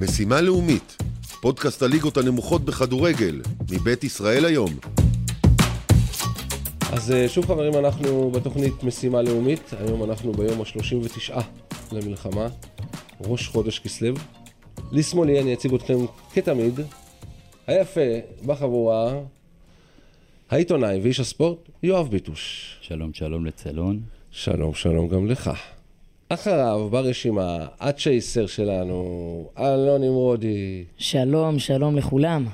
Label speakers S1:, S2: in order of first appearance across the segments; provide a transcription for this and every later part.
S1: משימה לאומית, פודקאסט הליגות הנמוכות בכדורגל, מבית ישראל היום.
S2: אז אה, שוב חברים, אנחנו בתוכנית משימה לאומית, היום אנחנו ביום ה-39 למלחמה, ראש חודש כסלו. לשמאלי אני אציג אתכם כתמיד, היפה בחבורה, העיתונאי ואיש הספורט, יואב ביטוש.
S3: שלום, שלום לצלון.
S2: שלום, שלום גם לך. אחריו ברשימה, הצ'ייסר שלנו, אלון נמרודי,
S4: שלום, שלום לכולם.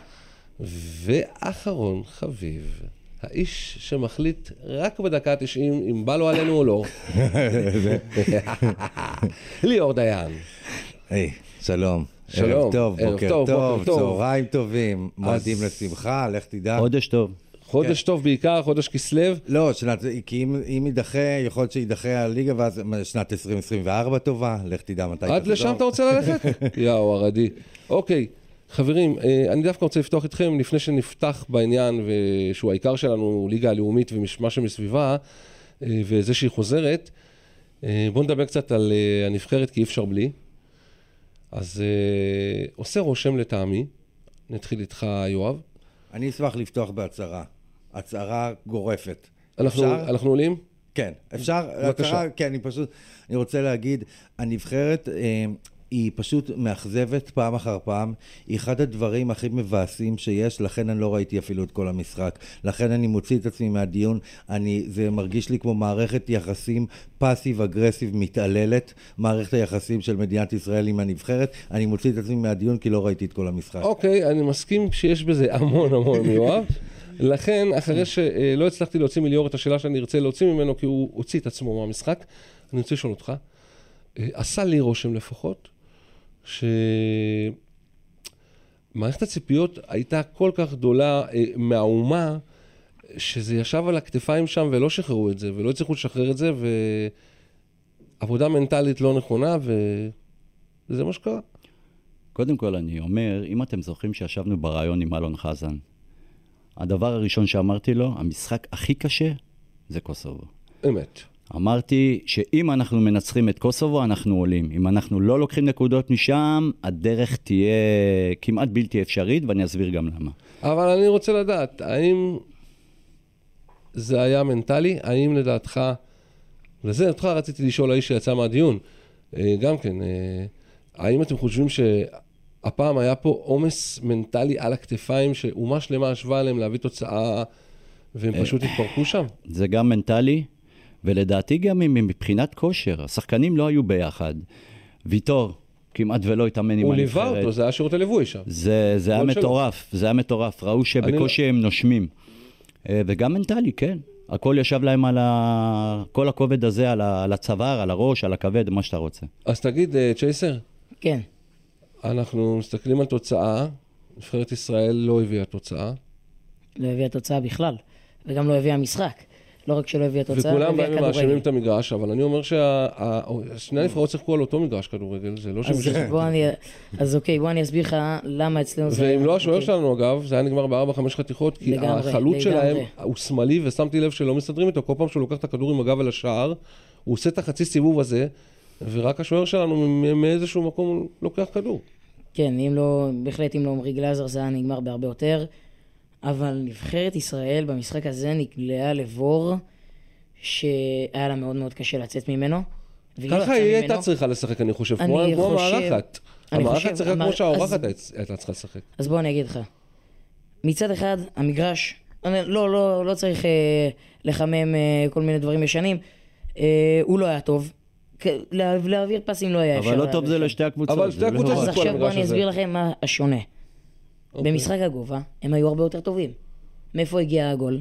S2: ואחרון חביב, האיש שמחליט רק בדקה ה-90 אם בא לו עלינו או לא. ליאור דיין.
S5: היי, שלום.
S2: שלום.
S5: ערב טוב,
S2: ערב
S5: בוקר
S2: טוב,
S5: טוב,
S2: בוקר טוב.
S5: צהריים טובים, מועדים לשמחה, לך תדע.
S3: חודש טוב.
S2: חודש טוב בעיקר, חודש כסלו.
S5: לא, שנת, כי אם, אם יידחה, יכול להיות שיידחה הליגה, ואז שנת 2024 טובה, לך תדע מתי
S2: עד
S5: תחזור.
S2: לשם אתה רוצה ללכת? יאו, לא- ערדי. אוקיי, חברים, אה, אני דווקא רוצה לפתוח איתכם, לפני שנפתח בעניין, ו- שהוא העיקר שלנו, ליגה הלאומית ומה שמסביבה, אה, וזה שהיא חוזרת, אה, בואו נדבר קצת על אה, הנבחרת, כי אי אפשר בלי. אז אה, עושה רושם לטעמי, נתחיל איתך, יואב.
S5: אני אשמח לפתוח בהצהרה. הצהרה גורפת.
S2: אנחנו,
S5: אפשר?
S2: אנחנו עולים?
S5: כן, אפשר?
S2: בבקשה.
S5: הצהרה, כן, אני פשוט, אני רוצה להגיד, הנבחרת אה, היא פשוט מאכזבת פעם אחר פעם. היא אחד הדברים הכי מבאסים שיש, לכן אני לא ראיתי אפילו את כל המשחק. לכן אני מוציא את עצמי מהדיון. אני, זה מרגיש לי כמו מערכת יחסים פאסיב-אגרסיב מתעללת. מערכת היחסים של מדינת ישראל עם הנבחרת. אני מוציא את עצמי מהדיון כי לא ראיתי את כל המשחק.
S2: אוקיי, אני מסכים שיש בזה המון המון יואב. לכן, אחרי שלא הצלחתי להוציא מליאור את השאלה שאני ארצה להוציא ממנו, כי הוא הוציא את עצמו מהמשחק, אני רוצה לשאול אותך, אה, עשה לי רושם לפחות, שמערכת הציפיות הייתה כל כך גדולה אה, מהאומה, שזה ישב על הכתפיים שם ולא שחררו את זה, ולא הצליחו לשחרר את זה, ועבודה מנטלית לא נכונה, וזה מה שקרה.
S3: קודם כל, אני אומר, אם אתם זוכרים שישבנו בריאיון עם אלון חזן, הדבר הראשון שאמרתי לו, המשחק הכי קשה זה קוסובו.
S2: אמת.
S3: אמרתי שאם אנחנו מנצחים את קוסובו, אנחנו עולים. אם אנחנו לא לוקחים נקודות משם, הדרך תהיה כמעט בלתי אפשרית, ואני אסביר גם למה.
S2: אבל אני רוצה לדעת, האם זה היה מנטלי? האם לדעתך, וזה אותך רציתי לשאול האיש שיצא מהדיון, אה, גם כן, אה, האם אתם חושבים שהפעם היה פה עומס מנטלי על הכתפיים, שאומה שלמה ישבה עליהם להביא תוצאה, והם פשוט התפרקו שם?
S3: זה גם מנטלי, ולדעתי גם מבחינת כושר. השחקנים לא היו ביחד. ויטור כמעט ולא התאמן עם
S2: הוא
S3: הנבחרת.
S2: ליווה אותו, זה היה שירות הליווי שם.
S3: זה, זה היה
S2: גול שלו.
S3: מטורף, זה היה מטורף, ראו שבקושי הם נושמים. אה, וגם מנטלי, כן. הכל ישב להם על ה... כל הכובד הזה, על, ה... על הצוואר, על הראש, על הכבד, מה שאתה רוצה.
S2: אז תגיד, אה, צ'ייסר,
S4: כן,
S2: אנחנו מסתכלים על תוצאה, נבחרת ישראל לא הביאה תוצאה,
S4: לא הביאה תוצאה בכלל, וגם לא הביאה משחק. לא רק שלא הביאה תוצאה, לא
S2: וכולם
S4: הביאה
S2: באים
S4: כדורגל.
S2: ומאשימים את המגרש, אבל אני אומר ששני הנבחרות שיחקו על אותו מגרש כדורגל, זה לא
S4: אז,
S2: שהם...
S4: בוא אני, אז אוקיי, בוא אני אסביר לך למה אצלנו זה...
S2: ואם לא השוער
S4: אוקיי.
S2: שלנו אגב, זה היה נגמר בארבע-חמש חתיכות, כי
S4: לגמרי,
S2: החלוץ שלהם
S4: לגמרי.
S2: הוא שמאלי, ושמתי לב שלא מסתדרים איתו, כל פעם שהוא לוקח את הכדור עם הגב אל השער, הוא עושה את החצי סיבוב הזה, ורק השוער שלנו מ- מאיזשהו מקום לוקח כדור.
S4: כן, אם לא, בהחלט אם לא עמרי גלאזר זה היה נגמר בהרבה יותר, אבל נבחרת ישראל במשחק הזה נקלעה לבור שהיה לה מאוד מאוד קשה לצאת ממנו. והיא לא
S2: ככה
S4: יצאה
S2: היא הייתה
S4: ממנו.
S2: צריכה לשחק, אני חושב,
S4: אני
S2: כמו כמו
S4: חושב-
S2: המארחת.
S4: אני
S2: המארחת
S4: חושב,
S2: צריכה כמו
S4: אמר-
S2: שהאורחת
S4: אז-
S2: הייתה- הייתה צריכה לשחק.
S4: אז בוא אני אגיד לך. מצד אחד, המגרש, אני, לא, לא, לא צריך אה, לחמם אה, כל מיני דברים ישנים, אה, הוא לא היה טוב. כ- לה, להעביר פסים לא היה אפשר.
S3: אבל לא
S4: היה
S3: טוב זה
S4: אפשר.
S3: לשתי הקבוצות.
S2: אבל שתי
S3: זה לא-
S2: הקבוצות
S4: אז
S2: שיחקו על
S4: עכשיו בוא
S2: המגרש
S4: אני
S2: הזה.
S4: אסביר לכם מה השונה.
S2: אוקיי.
S4: במשחק הגובה, הם היו הרבה יותר טובים. מאיפה הגיע הגול?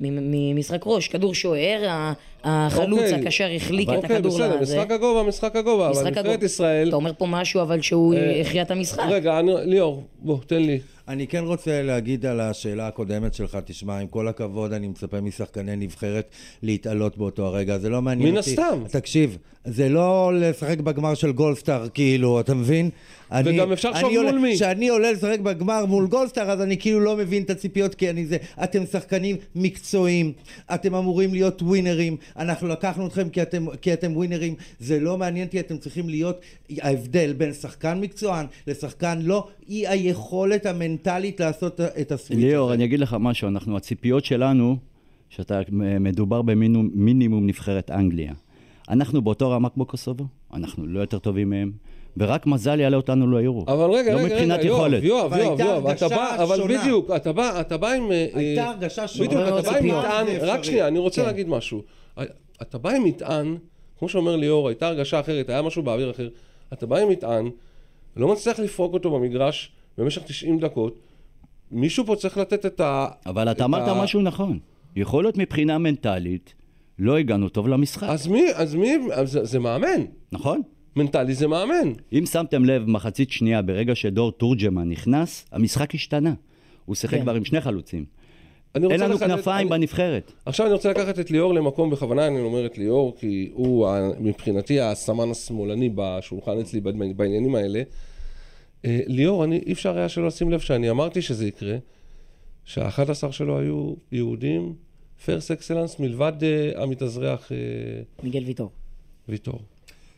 S4: מ- ממשחק ראש, כדור שוער, ה- החלוץ,
S2: אוקיי.
S4: הקשר החליק את
S2: אוקיי,
S4: הכדור
S2: בסדר,
S4: לזה.
S2: משחק הגובה, משחק הגובה, אבל
S4: משחק
S2: נבחרת
S4: הגובה.
S2: ישראל...
S4: אתה אומר פה משהו אבל שהוא
S2: אה,
S4: הכריע את המשחק.
S2: רגע, אני, ליאור, בוא, תן לי.
S5: אני כן רוצה להגיד על השאלה הקודמת שלך, תשמע, עם כל הכבוד, אני מצפה משחקני נבחרת להתעלות באותו הרגע, זה לא מעניין
S2: מן
S5: אותי.
S2: הסתם.
S5: תקשיב, זה לא לשחק בגמר של גולדסטאר, כאילו, אתה מבין? אני,
S2: וגם אפשר לחשוב
S5: אני עולה-
S2: מול מי.
S5: כשאני עולה לשחק בגמר מול גולדסטאר, אז אני כאילו לא מבין את הציפיות, כי אני זה... אתם שחקנים מקצועיים, אתם אמורים להיות ווינרים, אנחנו לקחנו אתכם כי אתם, כי אתם ווינרים, זה לא מעניין אותי, אתם צריכים להיות, ההבדל בין שחקן מקצוען לשחקן לא, היא היכולת המנטלית לעשות את הסוויץ'
S3: ליאור,
S5: הזה.
S3: אני אגיד לך משהו, אנחנו, הציפיות שלנו, שאתה מדובר במינימום נבחרת אנגליה. אנחנו באותו רמה כמו קוסובו, אנחנו לא יותר טובים מהם, ורק מזל יעלה אותנו ליורו.
S2: אבל רגע,
S3: לא
S2: רגע,
S3: מבחינת
S2: רגע, יואב,
S3: יכולת.
S2: יואב,
S5: אבל
S2: יואב,
S5: הייתה
S2: יואב, אתה
S5: הרגשה
S2: בא, אבל
S5: שונה.
S2: בדיוק, אתה בא, אתה בא עם... אה,
S5: הייתה
S2: אה,
S5: הרגשה שונה.
S2: בדיוק, אתה בא עם
S4: ציפיות.
S2: מטען,
S5: זה
S2: רק
S5: אפשרי.
S2: שנייה, אני רוצה
S5: כן.
S2: להגיד משהו. אה, אתה בא עם מטען, כמו שאומר ליאור, הייתה הרגשה אחרת, היה משהו באוויר אחר. אתה בא עם מטען, לא מצליח לפרוק אותו במגרש במשך 90 דקות. מישהו פה צריך לתת את ה...
S3: אבל
S2: את
S3: אתה אמרת
S2: ה-
S3: משהו נכון. יכול להיות מבחינה מנטלית, לא הגענו טוב למשחק,
S2: אז מי, אז מי, אז זה זה מאמן.
S3: נכון?
S2: מנטלי זה מאמן.
S3: אם שמתם לב, מחצית שנייה, ברגע שדור תורג'מן נכנס, המשחק השתנה. הוא שיחק
S4: כן.
S3: כבר עם שני חלוצים.
S2: אני רוצה
S3: אין לנו
S2: לחדד-
S3: כנפיים
S2: אני-
S3: בנבחרת.
S2: עכשיו אני רוצה לקחת את ליאור למקום, בכוונה אני אומר את ליאור, כי הוא ה- מבחינתי הסמן השמאלני בשולחן אצלי בעד- בעניינים האלה. אה, ליאור, אני, אי אפשר היה שלא לשים לב שאני אמרתי שזה יקרה, שה-11 שלו היו יהודים, פרס אקסלנס, מלבד אה, המתאזרח אה,
S4: מיגל ויטור.
S2: ויטור.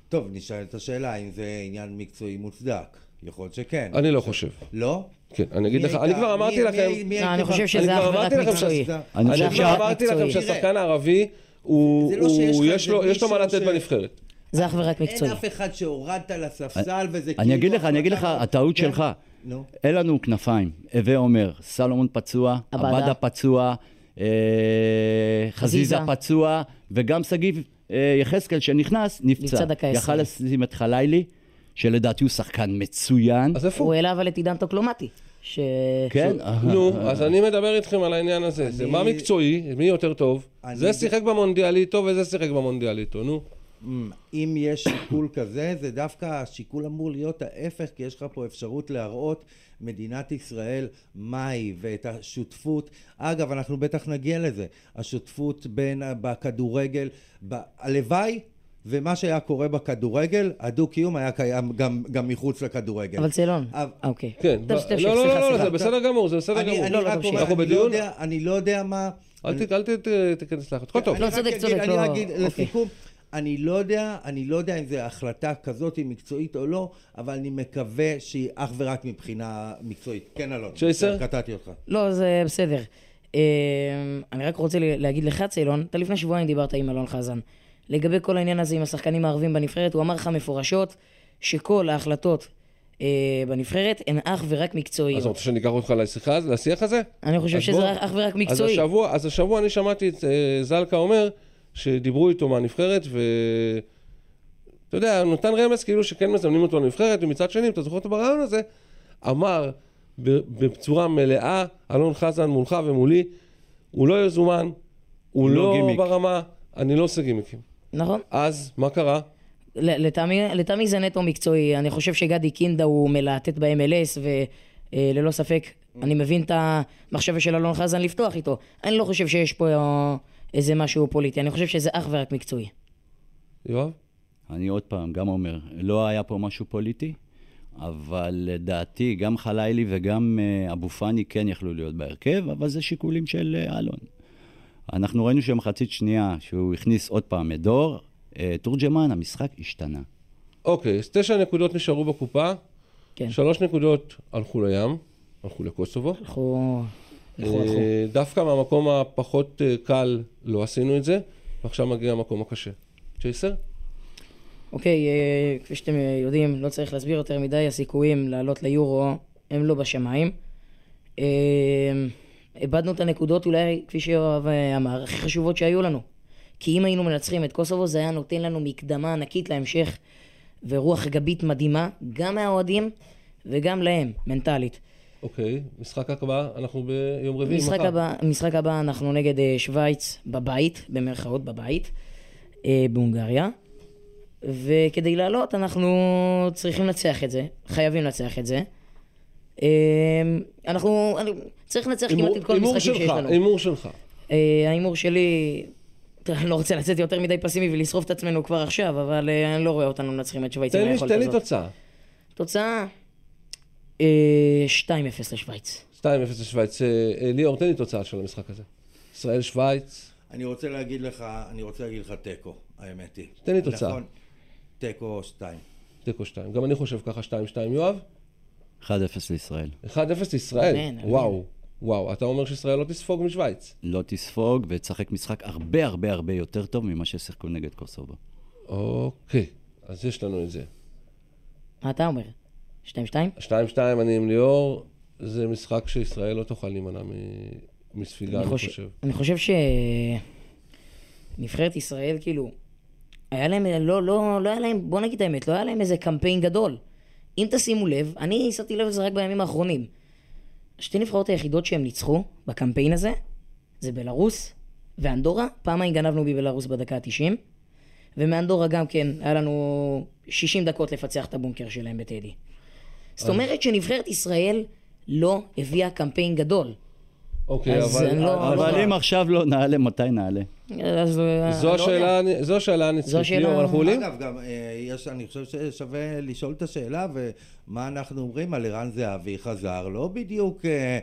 S5: טוב, נשאל את השאלה אם זה עניין מקצועי מוצדק. יכול להיות שכן.
S2: אני לא חושב.
S5: לא?
S2: כן, אני אגיד
S5: מי
S2: לך,
S5: הייתה-
S2: אני כבר אמרתי
S5: מי-
S2: לכם...
S5: מי- מי
S4: לא, אני
S5: הייתה-
S4: חושב שזה
S2: כבר
S4: אך ורק
S2: אמרתי לכם
S4: מקצועי.
S5: שזה-
S3: אני
S2: אני
S3: חושב
S2: כבר
S3: שה-
S2: אמרתי לכם
S4: מקצועי.
S2: שהשחקן הערבי, הוא,
S5: זה לא שיש לך
S2: הוא-
S5: איזה
S2: יש לו יש לו מה
S5: מישהו
S2: לתת
S5: ש-
S2: בנבחרת.
S4: זה אך ורק מקצועי.
S5: אין אף אחד שהורדת לספסל וזה כאילו
S3: אני אגיד לך, אני אגיד לך, הטעות
S5: כן.
S3: שלך.
S5: נו.
S3: אין לנו כנפיים. הווה אומר, סלומון פצוע,
S4: עבדה.
S3: עבדה פצוע, אה, חזיזה
S4: חזיזה.
S3: פצוע, וגם שגיב אה, יחזקאל שנכנס, נפצע.
S4: נפצע דקה
S3: יכל
S4: עשרים.
S3: לשים את חלילי, שלדעתי הוא שחקן מצוין.
S2: אז איפה הוא?
S4: הוא העלה אבל את עידן טוקלומטי. ש...
S3: כן,
S2: נו, אז אני מדבר איתכם על העניין הזה. זה מה מקצועי, מי יותר טוב.
S5: אני-
S2: זה שיחק במונדיאליטו וזה שיחק במונדיאליטו, נו.
S5: אם יש שיקול כזה, זה דווקא השיקול אמור להיות ההפך, כי יש לך פה אפשרות להראות מדינת ישראל מה היא, ואת השותפות. אגב, אנחנו בטח נגיע לזה. השותפות בין, בכדורגל, ב, הלוואי. ומה שהיה קורה בכדורגל, הדו-קיום היה קיים גם, גם מחוץ לכדורגל.
S4: אבל צילון.
S5: אה,
S4: אוקיי.
S2: כן, ב-
S4: טוב, שתמשיך,
S2: לא, לא, לא,
S4: סליחה,
S2: לא,
S4: סליחה.
S2: זה בסדר גמור, זה בסדר
S5: אני,
S2: גמור.
S5: אני
S4: לא, לא,
S5: רק
S4: תמשיך.
S5: אומר,
S2: אנחנו
S5: אני לא,
S2: בדיון?
S5: יודע, אני לא יודע מה...
S2: אל ת- אל ת- ת- תיכנס לחץ. הכל טוב.
S5: אני רק
S4: צודק,
S5: אגיד-
S4: צודק,
S5: אני
S4: לא-
S5: רק אגיד
S4: אוקיי.
S5: לסיכום, אני לא יודע, אני לא יודע אם זו החלטה כזאת היא מקצועית או לא, אבל אני מקווה שהיא אך ורק מבחינה מקצועית. כן, אלון.
S2: צ'ייסר?
S5: קטעתי אותך.
S4: לא, זה בסדר. אמ, אני רק רוצה ל- להגיד לך, צילון, אתה לפני שבועיים דיברת עם אלון חזן. לגבי כל העניין הזה עם השחקנים הערבים בנבחרת, הוא אמר לך מפורשות שכל ההחלטות אה, בנבחרת הן אך ורק
S2: אז אתה
S4: מקצועיות.
S2: רוצה שאני אקח אותך לשיחה, הז- לשיח הזה?
S4: אני חושב
S2: אז
S4: שזה
S2: בוא.
S4: רק- אך ורק
S2: אז
S4: מקצועי.
S2: השבוע, אז השבוע אני שמעתי את אה, זלקה אומר שדיברו איתו מהנבחרת ו... אתה יודע, הוא נתן רמז כאילו שכן מזמנים אותו לנבחרת, ומצד שני, אם אתה זוכר אותו ברעיון הזה, אמר ב- בצורה מלאה, אלון חזן מולך ומולי, הוא לא יזומן, הוא
S3: לא
S2: לא,
S3: גימיק."
S2: ברמה, אני לא עושה גימיקים.
S4: נכון?
S2: אז, מה קרה?
S4: ל- לטעמי לטעמי זה נטו מקצועי. אני חושב שגדי קינדה הוא מלהטט ב-MLS, וללא אה, ספק, אני מבין את המחשבה של אלון חזן לפתוח איתו. אני לא חושב שיש פה אה, איזה משהו פוליטי, אני חושב שזה אך ורק מקצועי.
S2: יואב?
S3: אני עוד פעם גם אומר, לא היה פה משהו פוליטי, אבל לדעתי גם חלילי וגם אה, אבו פאני כן יכלו להיות בהרכב, אבל זה שיקולים של אה, אלון. אנחנו ראינו שמחצית שנייה, שהוא הכניס עוד פעם את דור, אה, תורג'מן, המשחק השתנה.
S2: אוקיי, אז תשע נקודות נשארו בקופה,
S4: כן.
S2: שלוש נקודות הלכו לים, הלכו לקוסובו.
S4: אנחנו... נכון,
S2: אה, דווקא מהמקום הפחות אה, קל לא עשינו את זה, ועכשיו מגיע המקום הקשה. צ'ייסר?
S4: אוקיי, אה, כפי שאתם יודעים, לא צריך להסביר יותר מדי, הסיכויים לעלות ליורו הם לא בשמיים. אה, איבדנו את הנקודות אולי, כפי שיואב אה, אמר, הכי חשובות שהיו לנו. כי אם היינו מנצחים את קוסובו, זה היה נותן לנו מקדמה ענקית להמשך, ורוח גבית מדהימה, גם מהאוהדים וגם להם, מנטלית.
S2: אוקיי, משחק הקבעה, אנחנו ביום רביעי מחר.
S4: משחק הבא, משחק הבא אנחנו נגד אה, שווייץ בבית, במרכאות בבית, אה, בהונגריה. וכדי לעלות אנחנו צריכים לנצח את זה, חייבים לנצח את זה. אה, אנחנו, אני, צריך לנצח כמעט את כל
S2: הימור
S4: המשחקים שיש
S2: שלך,
S4: לנו.
S2: הימור שלך.
S4: אה, ההימור שלי, אני לא רוצה לצאת יותר מדי פסימי ולשרוף את עצמנו כבר עכשיו, אבל אה, אני לא רואה אותנו מנצחים את שווייץ עם
S2: תן לי-
S4: היכולת
S2: תן לי
S4: הזאת.
S2: תוצאה.
S4: תוצאה אה, 2-0 לשווייץ.
S2: 2-0 לשוויץ. אה, אה, ליאור, תן לי תוצאה של המשחק הזה. ישראל-שוויץ.
S5: אני רוצה להגיד לך, אני רוצה להגיד לך תיקו, האמת היא.
S2: תן לי תוצאה.
S5: נכון, תיקו שתיים.
S2: תיקו 2. גם אני חושב ככה 2-2, יואב.
S3: 1-0 לישראל.
S2: 1-0 ישראל.
S4: אמן, אמן.
S2: וואו, וואו. אתה אומר שישראל לא תספוג משוויץ.
S3: לא תספוג ותשחק משחק הרבה הרבה הרבה יותר טוב ממה ששיחקו נגד קוסובו.
S2: אוקיי, אז יש לנו את זה.
S4: מה אתה אומר? שתיים שתיים?
S2: 2-2 אני עם ליאור, זה משחק שישראל לא תוכל להימנע מ- מספיגה, אני חושב.
S4: אני חושב ש... נבחרת ישראל, כאילו, היה להם, לא, לא, לא היה להם, בוא נגיד את האמת, לא היה להם איזה קמפיין גדול. אם תשימו לב, אני שמתי לב לזה רק בימים האחרונים. שתי נבחרות היחידות שהם ניצחו בקמפיין הזה, זה בלארוס ואנדורה, פעמיים גנבנו מבלארוס בדקה ה-90, ומאנדורה גם כן, היה לנו 60 דקות לפצח את הבונקר שלהם בטדי. זאת אומרת שנבחרת ישראל לא הביאה קמפיין גדול.
S2: אוקיי,
S4: אז
S2: אבל...
S4: אני לא-
S3: אבל אם עכשיו לא נעלה, מתי נעלה?
S4: אז אה,
S2: זו
S4: לא יודע.
S2: השאלה, זו השאלה הנצחית,
S4: השאלה-
S2: ליאור, אנחנו עולים?
S5: אגב, גם אה, יש, אני חושב ששווה לשאול את השאלה, ומה אנחנו אומרים על ערן זהבי חזר, לא בדיוק אה,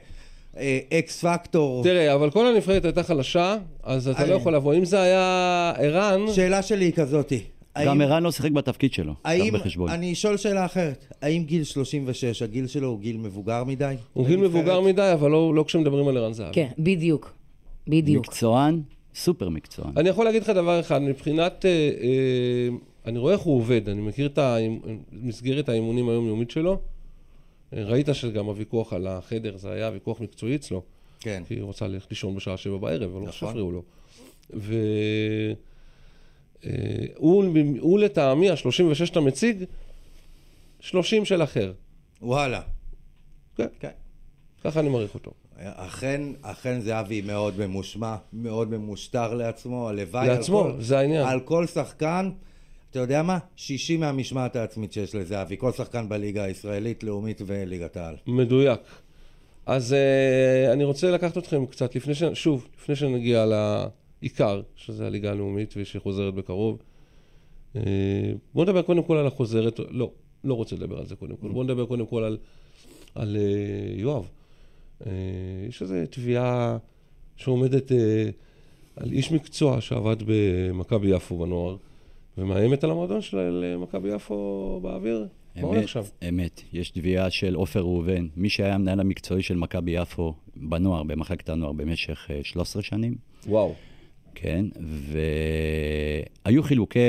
S5: אה, אקס פקטור.
S2: תראה, אבל כל הנבחרת הייתה חלשה, אז אתה לא
S5: אני-
S2: יכול לבוא. אם זה היה ערן,
S5: שאלה שלי היא כזאתי.
S3: גם
S5: האם-
S3: ערן לא שיחק בתפקיד שלו,
S5: האם,
S3: גם בחשבון.
S5: אני אשאול שאלה אחרת, האם גיל 36, הגיל שלו הוא גיל מבוגר מדי?
S2: הוא גיל
S5: לנבחרת?
S2: מבוגר מדי, אבל לא לא כשמדברים על ערן זהבי.
S4: כן, בדיוק. בדיוק.
S3: מקצוען, סופר מקצוען.
S2: אני יכול להגיד לך דבר אחד, מבחינת... אה, אה, אני רואה איך הוא עובד, אני מכיר את האימ- מסגרת האימונים היומיומית שלו. אה, ראית שגם הוויכוח על החדר, זה היה ויכוח מקצועי אצלו.
S5: כן.
S2: כי היא רוצה ללכת לישון בשעה שבע בערב, אבל לא
S5: נכון.
S2: שהפריעו לו. ו... אה, הוא, הוא לטעמי, ה-36 שאתה מציג, 30 של אחר.
S5: וואלה.
S2: כן.
S5: כן.
S2: ככה אני מעריך אותו.
S5: אכן, אכן זהבי מאוד ממושמע, מאוד ממושטר לעצמו, הלוואי
S2: לעצמו,
S5: על כל,
S2: זה העניין.
S5: על כל שחקן, אתה יודע מה? 60 מהמשמעת העצמית שיש לזהבי, כל שחקן בליגה הישראלית, לאומית וליגת העל.
S2: מדויק. אז uh, אני רוצה לקחת אתכם קצת לפני ש... שוב, לפני שנגיע לעיקר, שזה הליגה הלאומית ושחוזרת בקרוב. Uh, בואו נדבר קודם כל על החוזרת, לא, לא רוצה לדבר על זה קודם כל. בואו נדבר קודם כל על, על uh, יואב. Uh, יש איזו תביעה שעומדת uh, על איש מקצוע שעבד במכבי יפו בנוער, ומאיימת על המועדון של אה, מכבי יפו באוויר. מה הולך
S3: אמת,
S2: שם?
S3: אמת. יש תביעה של עופר ראובן, מי שהיה המנהל המקצועי של מכבי יפו בנוער, במחלקת הנוער, במשך אה, 13 שנים.
S2: וואו.
S3: כן, והיו חילוקי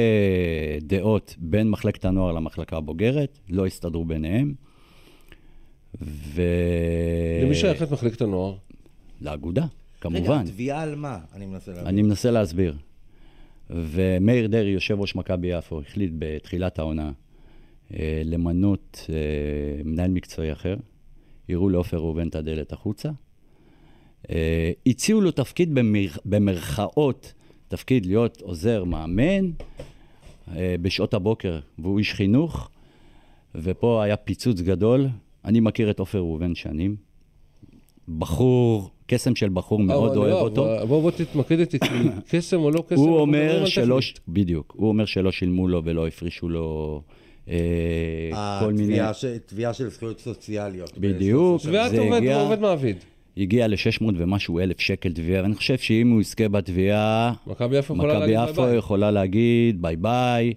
S3: דעות בין מחלקת הנוער למחלקה הבוגרת, לא הסתדרו ביניהם. ו... אה,
S2: למי שייכת מחלקת הנוער?
S3: לאגודה,
S5: רגע,
S3: כמובן.
S5: תביעה על מה? אני מנסה להבין.
S3: אני מנסה להסביר. ומאיר דרעי, יושב ראש מכבי יפו, החליט בתחילת העונה אה, למנות אה, מנהל מקצועי אחר. יראו לעופר ראובן את הדלת החוצה. אה, הציעו לו תפקיד במר... במרכאות, תפקיד להיות עוזר מאמן אה, בשעות הבוקר, והוא איש חינוך, ופה היה פיצוץ גדול. אני מכיר את עופר ראובן שנים. בחור, קסם של בחור, מאוד
S2: אה, אבל
S3: אוהב
S2: יואב,
S3: אותו.
S2: בוא בוא תתמקד איתי, כי קסם או לא קסם.
S3: הוא
S2: אנחנו מדברים
S3: אומר
S2: על
S3: שלא,
S2: טכנית.
S3: בדיוק, הוא אומר שלא שילמו לו ולא הפרישו לו אה, כל מיני,
S5: התביעה ש- תביעה של זכויות סוציאליות.
S3: בדיוק,
S5: בעצם.
S2: ואת
S3: זה
S2: עובד
S3: הגיע-
S2: עובד מעביד.
S3: הגיע ל-600 ומשהו אלף שקל תביעה, ואני חושב שאם הוא יזכה בתביעה,
S2: מכבי יפו יכולה
S3: מכבי
S2: להגיד ביי
S3: יפו
S2: ביי.
S3: יכולה להגיד ביי ביי.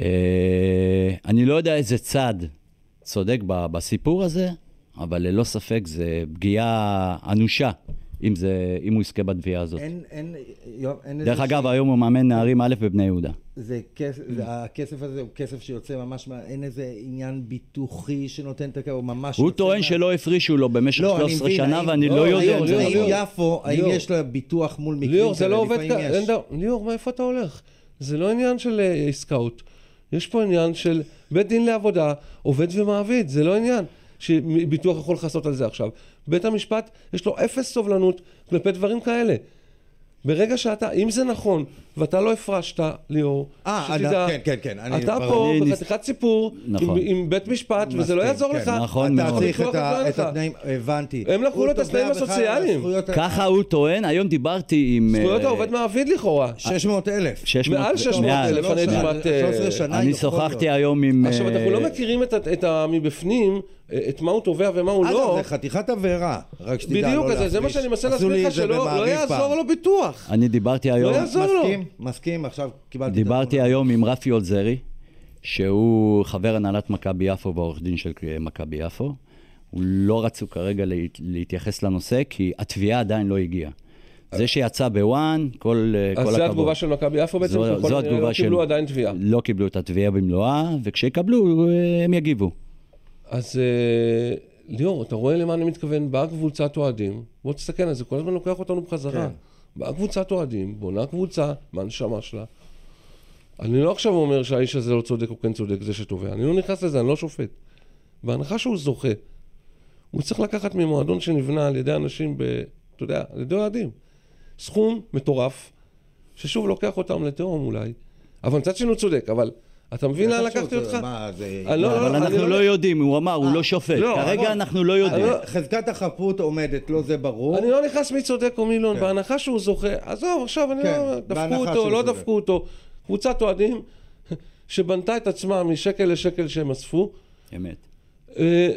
S3: אה, אני לא יודע איזה צד צודק ב- בסיפור הזה, אבל ללא ספק זה פגיעה אנושה, אם זה- אם הוא יזכה בתביעה הזאת.
S5: אין, אין, יואב, אין
S3: דרך
S5: איזה
S3: אגב, היום הוא מאמן נערים א' בבני יהודה.
S5: זה כסף, זה- הכסף הזה הוא כסף שיוצא ממש, מה- אין איזה עניין ביטוחי שנותן את הכסף, הוא ממש...
S3: הוא
S5: יוצא
S3: טוען
S5: מה-
S3: שלא הפרישו לו במשך
S5: לא, אני
S3: 13
S5: מבין,
S3: שנה,
S5: האם-
S3: ואני לא יודע
S5: ליאור,
S3: אם זה
S5: האם
S2: ליאור.
S3: נכון.
S5: יפו, האם
S2: ליאור.
S5: יש לה ביטוח מול מקרים
S2: ליאור, זה לא עובד
S5: לפעמים
S2: ככה.
S5: יש.
S2: אין דבר- ליאור, מאיפה אתה הולך? זה לא עניין של אה, עסקאות. יש פה עניין של בית דין לעבודה, עובד ומעביד, זה לא עניין שביטוח יכול לכסות על זה עכשיו. בית המשפט, יש לו אפס סובלנות כלפי דברים כאלה. ברגע שאתה, אם זה נכון, ואתה לא הפרשת, ליאור.
S5: אה,
S2: שתדע,
S5: אני- כן, כן, כן, אני-
S2: אתה
S5: אבל
S2: פה
S3: אני ניס-
S2: בחתיכת סיפור,
S3: נכון.
S2: עם- עם בית משפט, וזה לא
S5: מסכים,
S2: יעזור
S5: כן,
S2: לך.
S3: נכון
S5: אתה
S3: מאוד.
S5: צריך את
S2: הוויכוח הזה
S5: ה- את
S2: לך.
S5: התנאים, הבנתי.
S2: הם לקחו
S5: הוא
S2: לו את
S5: תובע
S2: התנאים
S5: בכלל על
S2: הסוציאליים.
S5: הזכויות ה-
S3: ככה הוא טוען, היום דיברתי עם...
S2: זכויות
S3: אה,
S2: העובד מעביד לכאורה.
S5: 600 אלף.
S3: 600
S2: מעל 600
S3: מעל.
S2: אלף, אני
S3: מעל.
S2: כמעט, אה,
S5: 13 שנה
S3: אני
S5: לא יכול
S3: שוחחתי
S5: להיות.
S3: היום עם...
S2: עכשיו, אנחנו לא
S3: אה,
S2: מכירים את ה- את ה- מבפנים, אה, את מה הוא תובע ומה הוא לא.
S5: אגב, אה, זה חתיכת עבירה, רק שתדע לא
S2: בדיוק,
S5: להחליש.
S2: אז זה- זה מה שאני מנסה
S5: עשו
S2: להסביר
S5: לי
S2: לך,
S5: את זה
S2: שלא לא
S5: במעריב
S2: יעזור
S5: פעם.
S2: לו ביטוח.
S3: אני דיברתי היום...
S2: לא יעזור לו.
S5: מסכים, מסכים, עכשיו קיבלתי את
S3: דיברתי היום עם רפי עולזרי, שהוא חבר הנהלת מכבי יפו ועורך דין של אה, מכבי יפו. הוא לא רצו כרגע להת- להתייחס לנושא, כי התביעה עדיין לא הגיעה. זה שיצא בוואן, כל, אה, כל
S2: אז
S3: הכבוד.
S2: זו התגובה של מכבי יפו בעצם,
S3: זו-
S2: שככל הנראה
S3: זו התגובה
S2: לא קיבלו עדיין תביעה.
S3: לא קיבלו את התביעה במלואה, וכשיקבלו, אה, הם יגיבו.
S2: לא, אז אה, ליאור, אתה רואה למה אני מתכוון? באה קבוצת אוהדים, בוא תסתכל על זה, כל הזמן לוקח אותנו בחזרה.
S5: כן.
S2: באה קבוצת אוהדים, בונה קבוצה, מהנשמה שלה. אני לא עכשיו אומר שהאיש הזה לא צודק או כן צודק, זה שתובע. אני לא נכנס לזה, אני לא שופט. בהנחה שהוא זוכה, הוא צריך לקחת ממועדון שנבנה על ידי אנשים, ב, אתה יודע, על ידי אוהדים. סכום מטורף, ששוב לוקח אותם לתהום אולי. אבל מצד שני הוא צודק, אבל אתה מבין לאן לא לקחתי אותך?
S5: מה, זה...
S2: אה, לא, לא,
S3: אבל
S2: אני
S3: אנחנו
S2: לא-
S3: לא יודעים, הוא אמר, הוא לא שופט.
S2: לא,
S3: כרגע
S2: אבל- אה,
S3: אנחנו לא יודעים.
S2: אבל-
S5: חזקת החפות עומדת, לא זה ברור.
S2: אני לא נכנס מי צודק או מי לא,
S5: כן.
S2: בהנחה שהוא זוכה, עזוב, עכשיו אני
S5: כן,
S2: לא, דפקו
S5: בהנחה
S2: אותו,
S5: שהוא
S2: לא
S5: צודק.
S2: דפקו אותו. קבוצת אוהדים שבנתה את עצמה משקל לשקל שהם אספו,
S3: אמת.
S2: אה,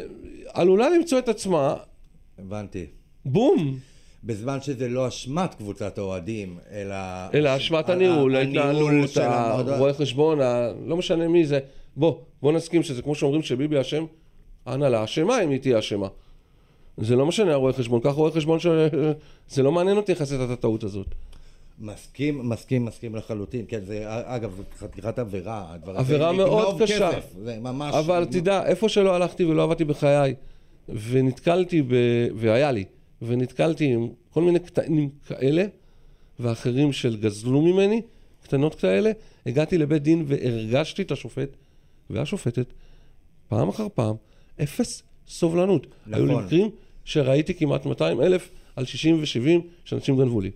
S2: עלולה למצוא את עצמה,
S5: הבנתי.
S2: בום,
S5: בזמן שזה לא אשמת קבוצת האוהדים, אלא...
S2: אלא אשמת הניהול, ההתנהלות,
S5: של המועדון.
S2: הרואה חשבון, ה- לא משנה מי זה. בוא, בוא נסכים שזה כמו שאומרים שביבי אשם, ההנהלה אשמה אם היא תהיה אשמה. זה לא משנה הרואה חשבון, ככה רואה חשבון ש... זה לא מעניין אותי יחסית את הטעות הזאת.
S5: מסכים, מסכים, מסכים לחלוטין. כן, זה, אגב, זו חתיכת עבירה. הדבר הזה.
S2: עבירה מאוד
S5: לגנוב
S2: קשה.
S5: כסף, זה ממש... לא-
S2: אבל תדע, איפה שלא הלכתי ולא עבדתי בחיי, ונתקלתי, ב... והיה לי, ונתקלתי עם כל מיני קטנים כאלה, ואחרים של גזלו ממני, קטנות כאלה, הגעתי לבית דין והרגשתי את השופט, והשופטת, פעם אחר פעם, אפס סובלנות.
S5: נכון.
S2: היו לי מקרים שראיתי כמעט 200 אלף על 60 ו-70 שאנשים גנבו לי.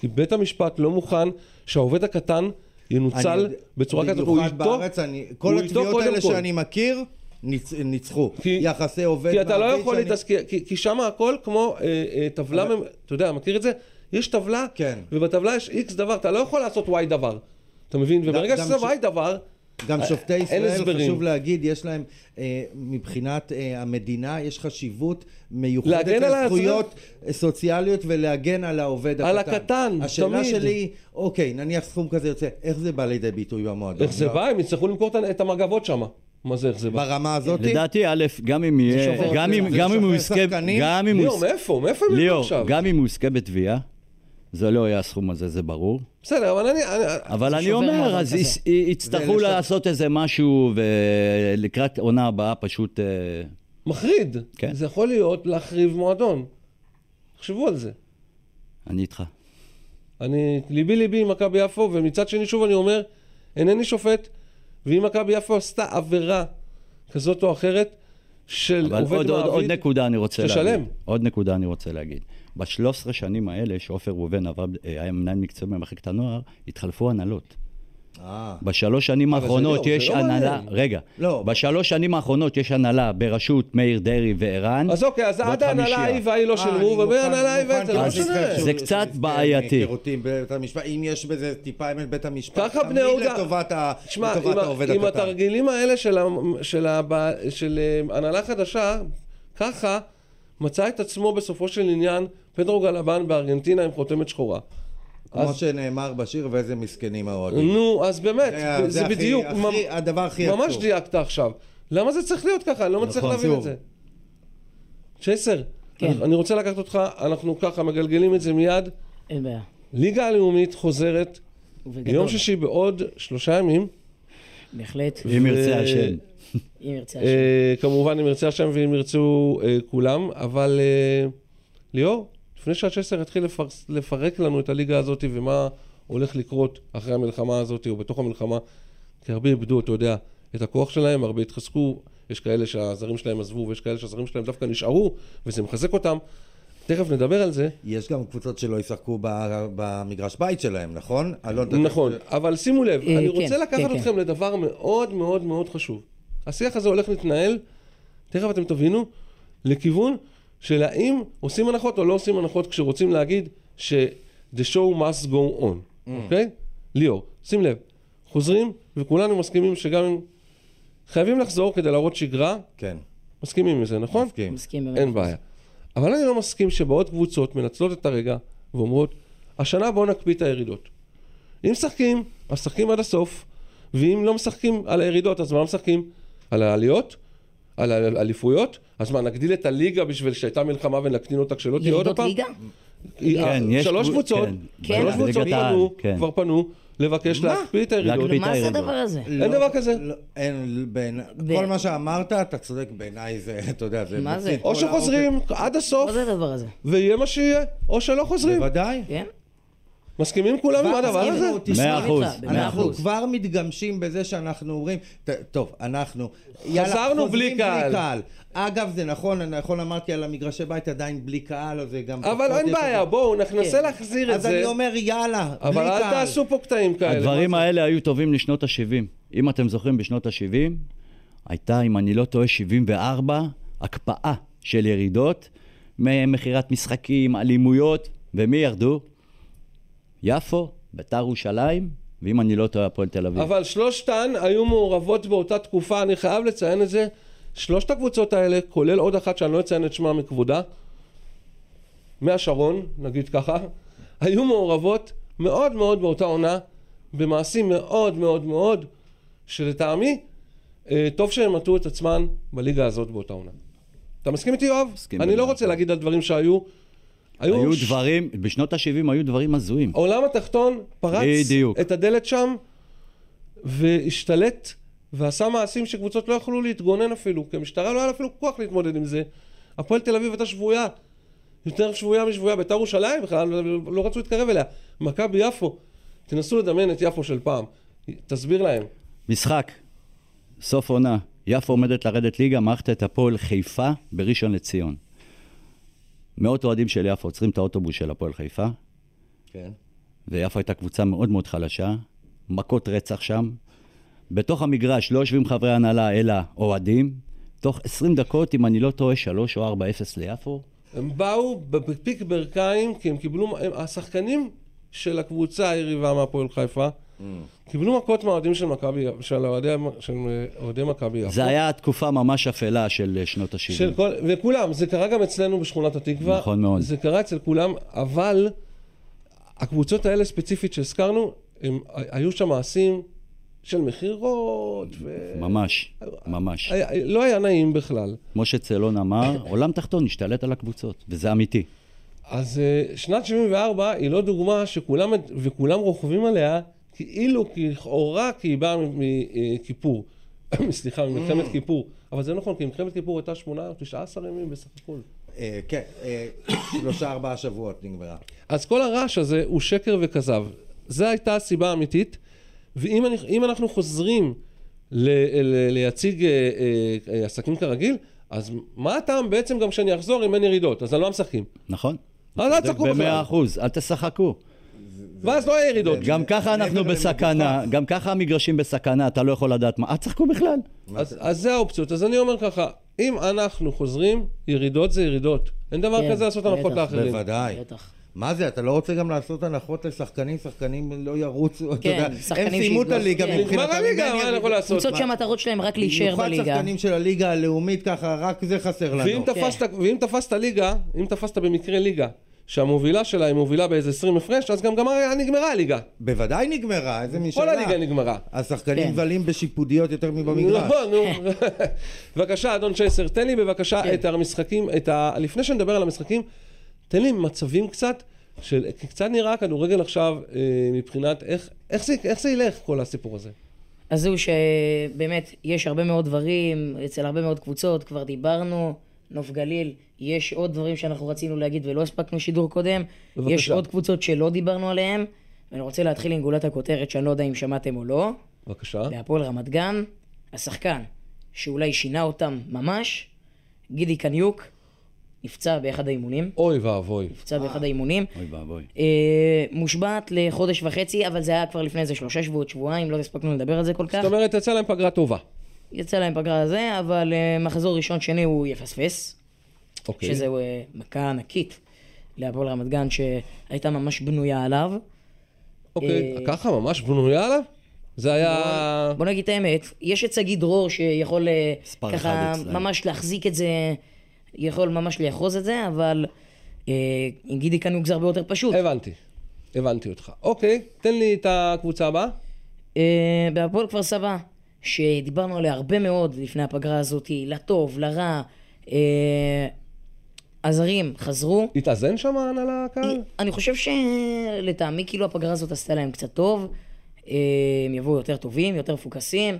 S2: כי בית המשפט לא מוכן שהעובד הקטן
S5: אני
S2: ינוצל
S5: יודע-
S2: בצורה כזאת, הוא
S5: במיוחד
S2: איתו,
S5: בארץ, אני, כל
S2: הוא איתו
S5: התביעות
S2: קודם
S5: האלה
S2: כל.
S5: שאני מכיר, ניצ, ניצחו.
S2: כי-
S5: יחסי עובד
S2: כי אתה לא
S5: מעביד
S2: יכול
S5: שאני-
S2: להתעסק, כי, כי שם הכל כמו אה, אה, טבלה, ממ... אתה יודע, מכיר את זה? יש טבלה,
S5: כן.
S2: ובטבלה יש איקס דבר, אתה לא יכול לעשות וואי דבר. אתה מבין? וברגע
S5: גם
S2: שזה
S5: ש-
S2: וואי דבר,
S5: גם שופטי
S2: אה, אין
S5: ישראל,
S2: הסברים.
S5: חשוב להגיד, יש להם, אה, מבחינת אה, המדינה, יש חשיבות מיוחדת
S2: להגן על
S5: לזכויות סוציאליות ולהגן על העובד
S2: על
S5: הקטן.
S2: הקטן,
S5: השאלה
S2: תמיד.
S5: שלי היא, אוקיי, נניח סכום כזה יוצא, איך זה בא לידי ביטוי במועדון?
S2: איך זה
S5: לא.
S2: בא? אה, הם יצטרכו למכור את ה- את המגבות שם. מה זה איך זה בא?
S5: ברמה הזאת?
S3: לדעתי, א', גם אם
S5: שובר-
S3: יהיה, גם אם-
S5: זה
S3: גם אם הוא
S5: שובר
S3: יזכה,
S5: שחקנים?
S3: גם אם הוא
S2: ליאור,
S3: יזכה,
S2: מאיפה? מאיפה הם יביאו
S3: ליאור,
S2: עכשיו?
S3: גם אם הוא יזכה בתביעה, זה לא יהיה הסכום הזה, זה ברור.
S2: בסדר, אבל אני... אני-
S3: אבל אני
S4: שובר
S3: אומר,
S4: מאזן
S3: אז
S4: כזה.
S3: יש- יצטרכו
S5: ולשת-
S3: לעשות איזה משהו, ולקראת עונה הבאה פשוט... אה,
S2: מחריד.
S3: כן.
S2: זה יכול להיות להחריב מועדון. תחשבו על זה.
S3: אני איתך.
S2: אני, ליבי ליבי עם מכבי יפו, ומצד שני שוב אני אומר, אינני שופט, ואם מכבי יפו עשתה עבירה כזאת או אחרת של
S3: אבל
S2: עובד
S3: עוד- עוד עוד
S2: מעביד,
S3: נקודה אני רוצה
S2: תשלם.
S3: להגיד. עוד נקודה אני רוצה להגיד. בשלוש עשרה שנים האלה, שעופר ראובן עבד- אה, היה מנהל מקצועי במחלקת הנוער, התחלפו הנהלות.
S5: אה,
S3: בשלוש שנים
S2: אבל זה
S3: האחרונות
S2: לא, זה
S3: יש
S2: לא
S3: הנהלה,
S2: מעניין.
S3: רגע,
S5: לא.
S3: בשלוש שנים האחרונות יש הנהלה בראשות מאיר דרי וערן.
S2: אז אוקיי, אז
S3: ועוד
S2: עד ההנהלה
S3: חמישייה.
S2: ההיא וההיא לא
S5: אה, אני
S2: שילמו,
S5: מוכן-
S2: ובהנהלה ההיא
S5: מוכן
S2: וההיא, זה לא
S5: גם
S3: אז
S2: משנה.
S5: להזדהות שהוא-
S3: זה קצת
S5: שהוא יזכה
S3: בעייתי.
S5: מהיכרותים בבית המשפט, אם יש בזה טיפה אמת בית המשפט,
S2: ככה בני
S5: תמיד
S2: יהודה...
S5: לטובת ה-
S2: תשמע,
S5: לטובת
S2: עם ה-
S5: העובד
S2: עם
S5: הקטן.
S2: התרגילים האלה של ה- של הבע- של אה, הנהלה חדשה, ככה מצא את עצמו בסופו של עניין פדרו גלבן בארגנטינה עם חותמת שחורה.
S5: כמו
S2: אז-
S5: שנאמר בשיר, ואיזה מסכנים האוהדים.
S2: נו, אז באמת,
S5: זה
S2: זה,
S5: ה-
S2: זה
S5: זה הכי-
S2: בדיוק,
S5: הכי- הדבר הכי
S2: ממש
S5: עצוב.
S2: דייקת עכשיו. למה זה צריך להיות ככה? אני לא מצליח
S5: נכון,
S2: להבין את
S5: עצוב.
S2: זה. צ'ייסר,
S4: כן.
S2: אני- אני רוצה לקחת אותך, אנחנו ככה מגלגלים את זה מיד.
S4: אין בעיה.
S2: ליגה הלאומית חוזרת
S4: וגדול.
S2: ביום שישי בעוד שלושה ימים.
S4: בהחלט,
S3: אם ירצה השם.
S4: אם ירצה השם.
S2: אה, כמובן, אם ירצה השם ואם ירצו אה, כולם, אבל אה, ליאור, לפני שהצ'סר יתחיל לפרס- לפרק לנו את הליגה הזאת ומה הולך לקרות אחרי המלחמה הזאת או בתוך המלחמה, כי הרבה איבדו, אתה יודע, את הכוח שלהם, הרבה התחזקו, יש כאלה שהזרים שלהם עזבו ויש כאלה שהזרים שלהם דווקא נשארו, וזה מחזק אותם. תכף נדבר על זה.
S5: יש גם קבוצות שלא ישחקו ב- במגרש בית שלהם, נכון? אלון, אתה-
S2: נכון, אבל שימו לב,
S4: אה,
S2: אני
S4: כן,
S2: רוצה
S4: כן,
S2: לקחת
S4: כן.
S2: אתכם לדבר מאוד מאוד מאוד חשוב. השיח הזה הולך להתנהל, תכף אתם תבינו, לכיוון של האם עושים הנחות או לא עושים הנחות כשרוצים להגיד ש- the show must go on,
S4: Mm.
S2: אוקיי? ליאור, שים לב, חוזרים וכולנו מסכימים שגם אם חייבים לחזור כדי להראות שגרה,
S5: כן,
S2: מסכימים עם זה, נכון?
S5: מסכים.
S4: מסכים באמת.
S2: אין בעיה. אבל אני לא מסכים שבאות קבוצות מנצלות את הרגע ואומרות, השנה בואו נקפיא את הירידות. אם משחקים, אז משחקים עד הסוף, ואם לא משחקים על הירידות, אז מה משחקים? על העליות? על האליפויות? אז מה, נגדיל את הליגה בשביל שהייתה מלחמה ונקטין אותה כשלא תהיה עוד
S4: ירידות
S2: פעם? לא
S4: ליגה? כאילו,
S3: כן,
S2: אה,
S3: יש
S2: שלוש
S3: קבוצ-
S2: קבוצות,
S3: כן.
S4: כן.
S2: שלוש
S4: בליגת
S2: קבוצות
S3: העל,
S2: פנו,
S3: כן.
S2: כבר פנו, לבקש להקפיא את הירידות.
S3: להקפיא את
S4: מה זה
S3: הירידות.
S4: הדבר הזה?
S2: אין דבר כזה.
S5: לא, אין, בין...
S4: ב-
S5: כל מה שאמרת, אתה צודק בעיניי, זה, אתה יודע, זה...
S4: מה זה?
S5: מוציא את
S2: או
S5: כל האופק.
S2: שחוזרים
S4: אוקיי.
S2: עד הסוף,
S4: מה זה הדבר הזה?
S2: ויהיה מה שיהיה, או שלא חוזרים.
S5: בוודאי.
S4: כן?
S2: מסכימים כולם עם הדבר
S4: מסכים.
S2: הזה?
S3: מאה
S4: מסכים
S3: אחוז,
S4: איתך, במאה
S3: מאה
S5: אנחנו
S3: אחוז.
S5: כבר מתגמשים בזה שאנחנו אומרים, "ט- טוב, אנחנו... יאללה,
S2: חזרנו
S5: חוזרים
S2: בלי קהל."
S5: אגב, זה נכון, אני נכון אמרתי על המגרשי בית עדיין בלי קהל, אז זה גם...
S2: אבל
S5: פחות
S2: אין
S5: יש-
S2: בעיה, בואו, ננסה
S4: כן.
S2: להחזיר את
S5: אז
S2: זה.
S5: אני אומר, יאללה, בלי קהל.
S2: אבל אל תעשו פה קטעים כאלה.
S3: הדברים האלה היו טובים לשנות ה-70. אם אתם זוכרים, בשנות ה-70 הייתה, אם אני לא טועה, 74, הקפאה של ירידות, ממכירת משחקים, אלימויות, ומי ירדו? יפו, ביתר ירושלים, ואם אני לא טועה, הפועל תל אביב.
S2: אבל שלושתן היו מעורבות באותה תקופה, אני חייב לציין את זה. שלושת הקבוצות האלה, כולל עוד אחת שאני לא אציין את שמה מכבודה, מהשרון, נגיד ככה, היו מעורבות מאוד מאוד באותה עונה, במעשים מאוד מאוד מאוד, שלטעמי, אה, טוב שהם עטו את עצמן בליגה הזאת באותה עונה. אתה מסכים איתי, יואב?
S3: מסכים
S2: אני לא
S3: לגמרי.
S2: רוצה להגיד על דברים שהיו.
S3: היו
S2: ש-
S3: דברים, בשנות ה-70 היו דברים הזויים.
S2: העולם התחתון פרץ
S3: בדיוק.
S2: את הדלת שם והשתלט ועשה מעשים שקבוצות לא יכלו להתגונן אפילו, כי המשטרה לא היה לה אפילו כוח להתמודד עם זה. הפועל תל אביב הייתה שבויה, יותר שבויה משבויה, בית"ר ירושלים בכלל לא- לא רצו להתקרב אליה. מכבי יפו, תנסו לדמיין את יפו של פעם, תסביר להם.
S3: משחק, סוף עונה, יפו עומדת לרדת ליגה, מערכת את הפועל חיפה בראשון לציון. מאות אוהדים של יפו עוצרים את האוטובוס של הפועל חיפה,
S5: כן.
S3: ויפו הייתה קבוצה מאוד מאוד חלשה, מכות רצח שם. בתוך המגרש לא יושבים חברי הנהלה אלא אוהדים. תוך 20 דקות, אם אני לא טועה, 3 או 4-0 ליפו.
S2: הם באו בפיק ברכיים, כי הם קיבלו, הם, השחקנים של הקבוצה היריבה מהפועל חיפה, קיבלו מכות מהאוהדים של מכבי, של אוהדי של, אה, אוהדי מכבי יפו.
S3: זה היה תקופה ממש אפלה של אה, שנות ה-70.
S2: של כל, וכולם, זה קרה גם אצלנו בשכונת התקווה.
S3: נכון מאוד.
S2: זה קרה אצל כולם, אבל הקבוצות האלה ספציפית שהזכרנו, הם, היו שם מעשים של מכירות, ו...
S3: ממש, ממש.
S2: היה- לא היה נעים בכלל.
S3: כמו שצלון אמר, עולם תחתון השתלט על הקבוצות, וזה אמיתי.
S2: אז אה, שנת 74 היא לא דוגמה שכולם, וכולם רוכבים עליה כאילו, לכאורה, כי היא באה מכיפור. סליחה, ממלחמת כיפור. אבל זה נכון, כי מלחמת כיפור הייתה שמונה או 19 ימים בסך הכל.
S5: אה, כן, אה, שלושה ארבעה שבועות נגמרה.
S2: אז כל הרעש הזה הוא שקר וכזב. זו הייתה הסיבה האמיתית, ואם אני, אם אנחנו חוזרים ל, ל, לייציג אה, אה, אה, עסקים כרגיל, אז מה הטעם בעצם גם שאני אחזור אם אין ירידות? אז אני לא משחקים.
S3: נכון?
S2: אז אל תשחקו
S3: במאה
S2: בכלל.
S3: אחוז, אל תשחקו.
S2: ואז לא יהיה ירידות.
S3: גם ככה אנחנו
S5: מעבר
S3: בסכנה, גם ככה המגרשים בסכנה, אתה לא יכול לדעת מה. אל תשחקו בכלל.
S2: אז, אז זה האופציות. אז אני אומר ככה, אם אנחנו חוזרים, ירידות זה ירידות. אין דבר
S4: כן,
S2: כזה לעשות הנחות
S4: בטח.
S2: לאחרים.
S5: בוודאי.
S4: בטח.
S5: מה זה, אתה לא רוצה גם לעשות הנחות לשחקנים, שחקנים לא ירוצו, אתה
S4: כן,
S5: יודע,
S4: שחקנים
S5: הם סיימו את
S4: שיתגרשו,
S5: הליגה
S4: כן.
S5: מבחינתם.
S2: נגמר הליגה, מה אני יכול לעשות?
S4: קבוצות שהמטרות שלהם רק להישאר
S5: במיוחד
S4: בליגה.
S5: שחקנים של הליגה הלאומית ככה, רק זה חסר
S2: ואם
S5: לנו.
S4: כן.
S2: תפסת, ואם תפסת ליגה, אם תפסת במקרה ליגה, שהמובילה שלה היא מובילה באיזה 20 הפרש, אז גם גמר, נגמרה הליגה.
S5: בוודאי נגמרה, איזה משאלה.
S2: כל הליגה נגמרה.
S5: השחקנים
S4: כן.
S5: מבלים בשיפודיות יותר מבמגרש.
S2: לא, נו. בבקשה, אדון צ'ייסר, תן לי בבקשה
S4: כן.
S2: את המשחקים, את ה... לפני שנדבר על המשחקים, תן לי מצבים קצת, של... כי קצת נראה הכדורגל עכשיו אה, מבחינת איך, איך, זה, איך זה ילך כל הסיפור הזה.
S4: אז זהו שבאמת, יש הרבה מאוד דברים, אצל הרבה מאוד קבוצות, כבר דיברנו, נוף גליל, יש עוד דברים שאנחנו רצינו להגיד ולא הספקנו שידור קודם,
S2: בבקשה.
S4: יש עוד קבוצות שלא דיברנו עליהן, ואני רוצה להתחיל עם גולת הכותרת שאני לא יודע אם שמעתם או לא,
S2: בבקשה.
S4: בהפועל רמת גן, השחקן שאולי שינה אותם ממש, גידי קניוק, נפצע באחד האימונים.
S2: אוי ואבוי.
S4: נפצע באחד האימונים.
S3: אוי ואבוי.
S4: אה, מושבת לחודש וחצי, אבל זה היה כבר לפני איזה שלושה שבועות, שבועיים, לא הספקנו לדבר על זה כל כך.
S2: זאת אומרת, יצא להם פגרה טובה.
S4: יצא להם פגרה הזה, אבל אה, מחזור ראשון שני הוא יפספס.
S2: אוקיי.
S4: שזו אה, מכה ענקית להפועל רמת גן, שהייתה ממש בנויה עליו.
S2: אוקיי,
S4: אה,
S2: ככה ממש בנויה עליו? זה היה...
S4: בוא נגיד את האמת, יש את שגיא דרור שיכול אה,
S3: אה? מספר
S4: ככה
S3: אחד אצלנו.
S4: ממש להחזיק את זה, יכול ממש לאחוז את זה, אבל אה, עם גידי כאן הוא גזר ביותר פשוט.
S2: הבנתי. הבנתי אותך. אוקיי, תן לי את הקבוצה הבאה.
S4: אה, בהפועל כפר סבא, שדיברנו עליה הרבה מאוד לפני הפגרה הזאת, לטוב, לרע, אה, הזרים חזרו.
S2: התאזן שם ההנהלה הקהל?
S4: אה, אני חושב שלטעמי כאילו הפגרה הזאת עשתה להם קצת טוב, אה, הם יבואו יותר טובים, יותר מפוקסים.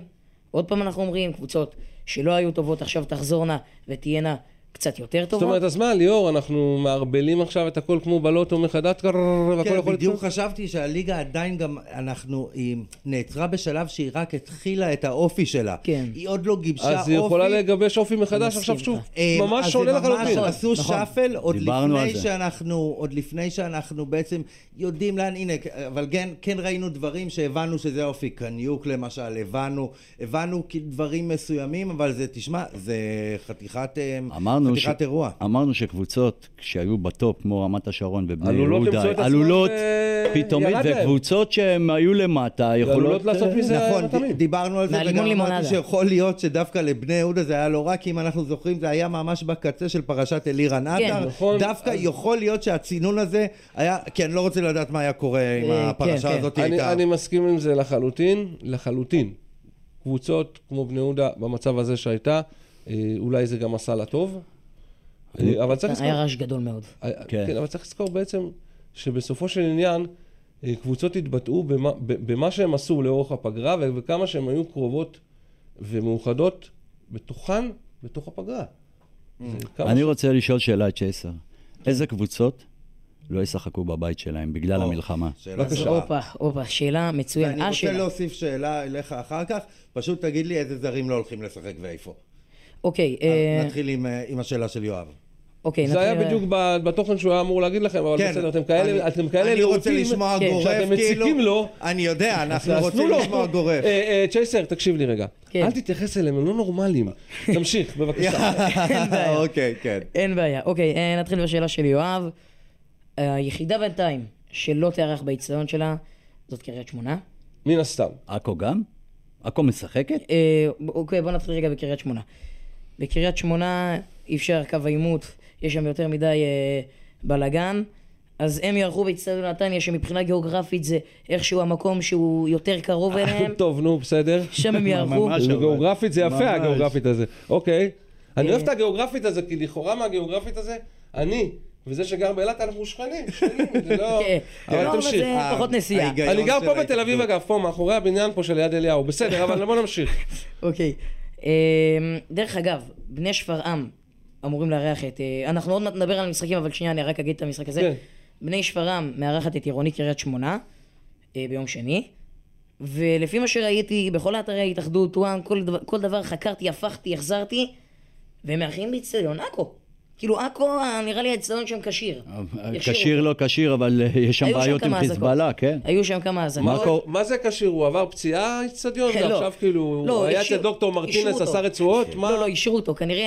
S4: עוד פעם אנחנו אומרים, קבוצות שלא היו טובות עכשיו תחזורנה ותהיינה קצת יותר
S2: זאת
S4: טובות.
S2: אומרת, אז מה, ליאור, אנחנו מערבלים עכשיו את הכל כמו בלוטו מחדש, והכל יכול
S5: כן,
S2: לצאת?
S5: בדיוק חשבתי שהליגה עדיין גם, אנחנו, היא נעצרה בשלב שהיא רק התחילה את האופי שלה.
S4: כן.
S5: היא עוד לא גיבשה אופי.
S2: אז היא יכולה לגבש אופי מחדש
S4: מסכים
S2: עכשיו שוב,
S4: איתך.
S5: אה,
S2: ממש
S5: אז
S2: שונה
S5: הם
S2: לחלוטין.
S5: ממש עשו שפל עוד
S3: נכון. דיברנו על
S5: לפני
S3: זה.
S5: שאנחנו, עוד לפני שאנחנו בעצם יודעים לאן, הנה, אבל כן, כן ראינו דברים שהבנו שזה האופי, קניוק למשל, הבנו, הבנו כי- דברים מסוימים, אבל זה, תשמע, זה חתיכת, אה,
S3: אמרנו,
S5: חתיכת אירוע.
S3: אמרנו שקבוצות כשהיו בטופ, כמו רמת השרון ובני
S2: עלולות
S3: יהודה,
S2: למצוא את עצמן,
S3: עלולות
S2: אה,
S3: פתאומית,
S2: ירד להם.
S3: וקבוצות שהן היו למטה, יכולות...
S2: עלולות לעשות
S3: אה,
S2: מזה לא
S5: נכון,
S2: רתמים.
S5: דיברנו על זה,
S4: מהלימון
S5: וגם אמרתי
S4: לימונדה.
S5: שיכול להיות שדווקא לבני יהודה זה היה לא רע, כי אם אנחנו זוכרים זה היה ממש בקצה של פרשת אלירן
S4: כן.
S5: עטר,
S2: נכון,
S5: דווקא
S2: אז-
S5: יכול להיות שהצינון הזה היה, כי אני לא רוצה לדעת מה היה קורה אם
S4: אה,
S5: הפרשה
S4: כן,
S5: הזאת
S2: אני-
S5: הייתה.
S2: אני מסכים עם זה לחלוטין, לחלוטין. קבוצות כמו בני יהודה במצב הזה שהייתה, אה, אולי זה גם עשה לה טוב, אה, אבל צריך לזכור...
S4: היה רעש גדול מאוד.
S2: היה-
S3: כן.
S2: כן, אבל צריך לזכור בעצם שבסופו של עניין, אה, קבוצות התבטאו במה, ב- במה שהם עשו לאורך הפגרה ו- וכמה שהן היו קרובות ומאוחדות בתוכן, בתוך הפגרה.
S5: Mm.
S2: זה כמה
S3: אני
S2: ש-
S3: רוצה לשאול שאלה את צ'ייסר. איזה קבוצות לא ישחקו בבית שלהם בגלל המלחמה?
S5: שאלה
S4: אז
S5: טובה.
S4: הופה, הופה, שאלה מצוינת.
S5: אני
S4: אה,
S5: רוצה
S4: שאלה.
S5: להוסיף שאלה אליך אחר כך, פשוט תגיד לי איזה זרים לא הולכים לשחק ואיפה.
S4: אוקיי, אה,
S5: אז נתחיל עם, אה, עם השאלה של יואב.
S4: אוקיי,
S2: זה היה בדיוק ב- בתוכן שהוא היה אמור להגיד לכם, אבל
S5: כן,
S2: בסדר, אתם כאלה
S5: אני-
S2: אתם כאלה
S5: אני רוצה
S2: להוטים
S5: לשמוע
S4: כן,
S5: גורף,
S2: שאתם
S5: כאילו...
S2: מציקים לו,
S5: אני יודע, אנחנו
S2: אז תנו
S5: רוצים
S2: לו.
S5: לשמוע גורף.
S2: אה, אה, צ'ייסר, תקשיב לי רגע.
S4: כן.
S2: אל תתייחס אליהם, הם לא נורמלים. תמשיך, בבקשה.
S5: אוקיי, כן.
S4: אין בעיה. אוקיי, אה, נתחיל בשאלה של יואב. היחידה בינתיים שלא תארח באיצטדיון שלה, זאת קריית שמונה.
S2: מן הסתם.
S3: עכו גם? עכו משחקת?
S4: אה, אוקיי, בוא נתחיל רגע בקריית שמונה. בקריית שמונה אי אפשר קו העימות, יש שם יותר מדי אה, בלאגן, אז הם יערכו באצטדיון נתניה, שמבחינה גיאוגרפית זה איכשהו המקום שהוא יותר קרוב
S3: אה,
S4: אליהם,
S2: טוב, נו, בסדר.
S4: שם הם יערכו. כן.
S3: ממש. אבל.
S2: גיאוגרפית זה יפה,
S3: ממש.
S2: הגיאוגרפית הזה. אוקיי. אני אוהב את הגיאוגרפית הזה, כי לכאורה מהגיאוגרפית הזה, אני וזה שגר באילת, אנחנו שכנים, שכנים, זה לא...
S4: כן. לא,
S2: אבל
S4: אבל
S2: תמשיך. אה,
S4: זה- פחות נסיעה.
S5: ההיגיון
S2: אני גר
S5: של
S2: פה בתל אביב,
S5: ההתאחדות.
S2: אגב, פה, מאחורי הבניין פה שליד אליהו. בסדר, אבל בוא נמשיך.
S4: אוקיי. אמ, דרך אגב, בני שפרעם אמורים לארח את... אה, אנחנו עוד מעט נדבר על המשחקים, אבל שנייה, אני רק אגיד את המשחק הזה.
S2: כן.
S4: בני שפרעם מארחת את עירוני קריית שמונה אה, ביום שני, ולפי מה שראיתי בכל אתרי ההתאחדות, וואן, כל, דבר- כל דבר חקרתי, הפכתי, החזרתי, והם מארחים באיצטדיון עכו. כאילו עכו, אה, נראה לי האיצטדיון שם כשיר.
S2: אה,
S4: יכשירו.
S3: כשיר לא כשיר, אבל אה, יש שם
S4: היו שם
S3: בעיות עם
S4: כמה אזעקות.
S3: חיזבאללה, כן?
S2: אה,
S4: היו שם כמה אזעקות.
S2: מה- מה זה קשור? הוא עבר פציעה אצטדיון,
S4: לא.
S2: ועכשיו כאילו,
S4: לא,
S2: הוא היה אצל
S4: השאיר-
S2: דוקטור
S4: השאירו
S2: מרטינס,
S4: אותו.
S2: עשה רצועות? מה?
S4: לא, לא, אישרו אותו. כנראה,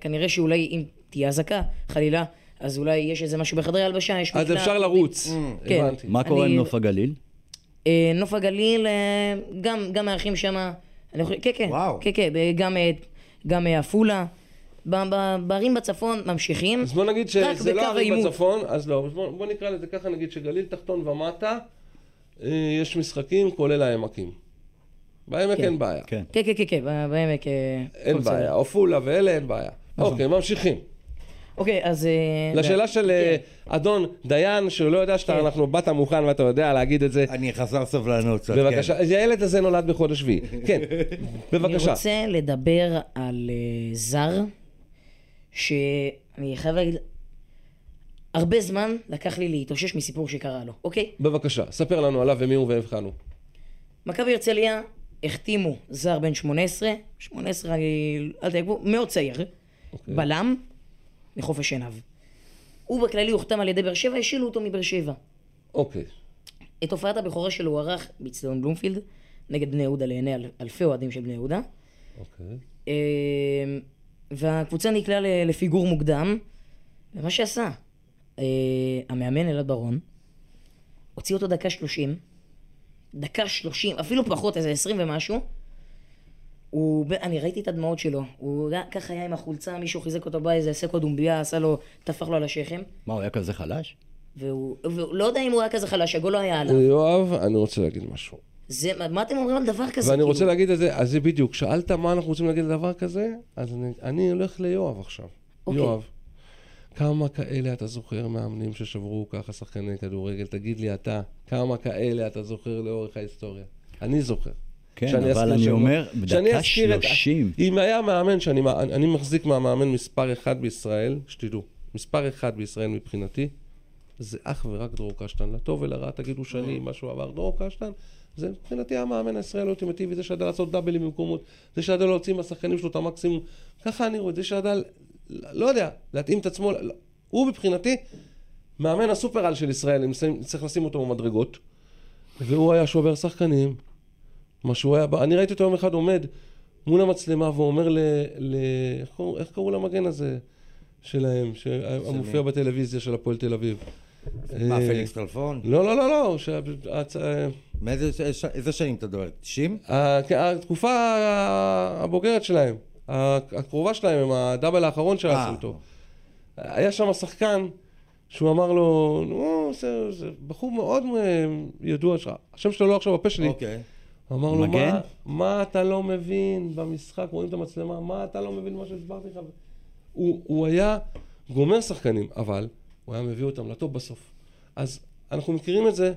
S4: כנראה שאולי אם תהיה אזעקה, חלילה, אז אולי יש איזה משהו בחדרי הלבשה, יש
S2: אז אפשר לרוץ.
S4: כן.
S2: הבנתי.
S3: מה קורה
S4: אני-
S3: עם נוף הגליל?
S4: אה, נוף הגליל, אה, גם, גם מארחים שם, אני חושב, כן, כן.
S5: וואו.
S4: כן, כן, אה, גם, אה, גם אה, עפולה. ב- ב- בערים בצפון ממשיכים.
S2: אז בוא נגיד
S4: רק
S2: שזה
S4: בקו
S2: לא ערים
S4: העימות.
S2: בצפון, אז לא, בוא, בוא נקרא לזה ככה, נגיד שגליל תחתון ומטה, אה, יש משחקים, כולל העמקים. בעמק
S4: כן.
S2: אין בעיה.
S3: כן.
S4: כן, כן, כן, כן, ב- בעמק. אה,
S2: אין
S4: הכל בסדר.
S2: בעיה, עפולה ואלה אין בעיה. אוקיי, ממשיכים.
S4: אוקיי, אז... אה,
S2: לשאלה של אה, אדון דיין, שהוא לא יודע שאתה,
S4: כן.
S2: אנחנו באת מוכן ואתה יודע להגיד את זה.
S5: אני חסר סבלנות קצת, כן.
S2: בבקשה, אז הילד הזה נולד בחודש שביעי. כן,
S4: אני
S2: בבקשה.
S4: רוצה לדבר על אה, זר, שאני חייב להגיד, הרבה זמן לקח לי להתאושש מסיפור שקרה לו, אוקיי?
S2: בבקשה, ספר לנו עליו ומי הוא ואיך הוא.
S4: מכבי הרצליה החתימו זר בן 18, 18, אני, אל תעקבו, מאוד צעיר, בלם, מחוף עיניו. הוא בכללי הוחתם על ידי באר שבע, השאילו אותו מבאר שבע.
S2: אוקיי.
S4: את הופעת הבכורה שלו הוא ערך באצטדיון בלומפילד, נגד בני יהודה לעיני אל- אלפי אוהדים של בני יהודה.
S2: אוקיי.
S4: אה, והקבוצה נקלעה ל- לפיגור מוקדם, ומה שעשה, אה, המאמן אלעד ברון, הוציא אותו דקה שלושים, דקה שלושים, אפילו פחות, איזה עשרים ומשהו. הוא, ב- אני ראיתי את הדמעות שלו, הוא היה- ככה היה עם החולצה, מישהו חיזק אותו באי, איזה עסק דומביה, עשה לו, טפח לו על השכם,
S3: מה, הוא היה כזה חלש?
S4: והוא, והוא לא יודע אם הוא היה כזה חלש, הגול לא היה עליו.
S2: יואב, אני רוצה להגיד משהו.
S4: זה, מה- מה אתם אומרים על דבר כזה?
S2: ואני
S4: כאילו?
S2: רוצה להגיד את זה, אז זה בדיוק, שאלת מה אנחנו רוצים להגיד על דבר כזה, אז אני, אני הולך ליואב עכשיו.
S4: אוקיי.
S2: יואב, כמה כאלה אתה זוכר מאמנים ששברו ככה שחקני כדורגל? תגיד לי אתה, כמה כאלה אתה זוכר לאורך ההיסטוריה? אני זוכר.
S3: כן,
S2: שאני
S3: אבל
S2: אזכיר
S3: אני
S2: שמות-
S3: אומר,
S2: שאני
S3: בדקה
S2: אזכיר את-
S3: 30.
S2: אם היה מאמן שאני מא- אני מחזיק מהמאמן מספר אחד בישראל, שתדעו, מספר אחד בישראל מבחינתי, זה אך ורק דרור קשטן. לטוב ולרע, תגידו
S3: אה.
S2: שאני, מה שהוא אמר, דרור קשטן, זה מבחינתי המאמן הישראלי האולטימטיבי, זה שידע לעשות דאבלים במקומות, זה שידע להוציא מהשחקנים שלו את המקסימום, ככה אני רואה, את זה שידע, ל- לא יודע, להתאים את עצמו, ל- לא. הוא מבחינתי מאמן הסופר-על של ישראל, אם שמים- צריך לשים אותו במדרגות, והוא היה שובר שחקנים, מה שהוא היה, אני ראיתי אותו יום אחד עומד מול המצלמה ואומר ל... ל איך, קראו, איך קראו למגן הזה שלהם,
S5: מי?
S2: שהמופיע בטלוויזיה של הפועל תל אביב?
S5: מה,
S2: אה,
S5: פליקס כלפון?
S2: לא, לא, לא, לא, שה- הצ- אה,
S5: מאיזה ש- ש- איזה שנים אתה דואג? 90?
S2: ה- כן, התקופה ה- הבוגרת שלהם, ה- הקרובה שלהם, עם הדאבל האחרון
S5: אה.
S2: שעשו אותו. היה שם שחקן שהוא אמר לו, נו, זה זה בחור מאוד אה, ידוע שלך, השם שלו לא עכשיו בפה שלי.
S5: אוקיי.
S2: אמר לו,
S3: מגן?
S2: מה, מה אתה לא מבין במשחק, רואים את המצלמה, מה אתה לא מבין מה שהסברתי לך? הוא, הוא היה גומר שחקנים, אבל הוא היה מביא אותם לטופ בסוף. אז אנחנו מכירים את זה,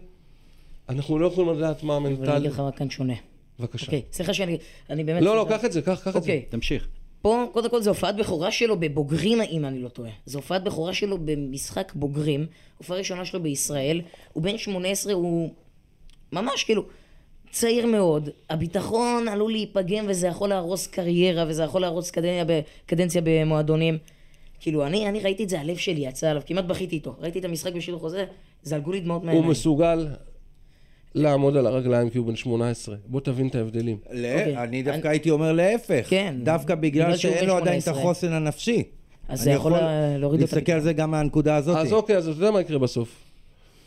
S2: אנחנו לא יכולים לדעת מה
S4: אבל אני
S2: המנטל...
S4: אגיד לך רק כאן שונה.
S2: בבקשה.
S4: אוקיי, סליחה שאני, אני באמת...
S2: לא, לא,
S4: סליחה.
S2: קח את זה, קח, קח את זה.
S4: אוקיי,
S3: תמשיך.
S4: פה קודם כל זו הופעת בכורה שלו בבוגרים, אם אני לא טועה. זו הופעת בכורה שלו במשחק בוגרים, הופעה ראשונה שלו בישראל, הוא בן 18, הוא ממש כאילו צעיר מאוד, הביטחון עלול להיפגם וזה יכול להרוס קריירה וזה יכול להרוס קדנציה, ב- קדנציה במועדונים. כאילו, אני, אני ראיתי את זה, הלב שלי יצא עליו, כמעט בכיתי איתו. ראיתי את המשחק בשידור חוזר, זלגו לי דמעות
S2: הוא
S4: מהעיניים.
S2: מסוגל לעמוד על הרגליים כי הוא בן 18. בוא תבין את ההבדלים.
S5: לה- אני דווקא
S4: אוקיי. אני-
S5: הייתי אומר להפך.
S4: כן.
S5: דווקא בגלל
S4: בגלל שהוא
S5: שאין
S4: בן
S5: לו עדיין את
S4: 18.
S5: החוסן הנפשי.
S4: אז
S5: אני
S4: זה יכול לה- להוריד לו את
S5: להסתכל על זה גם מהנקודה הזאת.
S2: אז אוקיי, אז אתה יודע מה יקרה בסוף.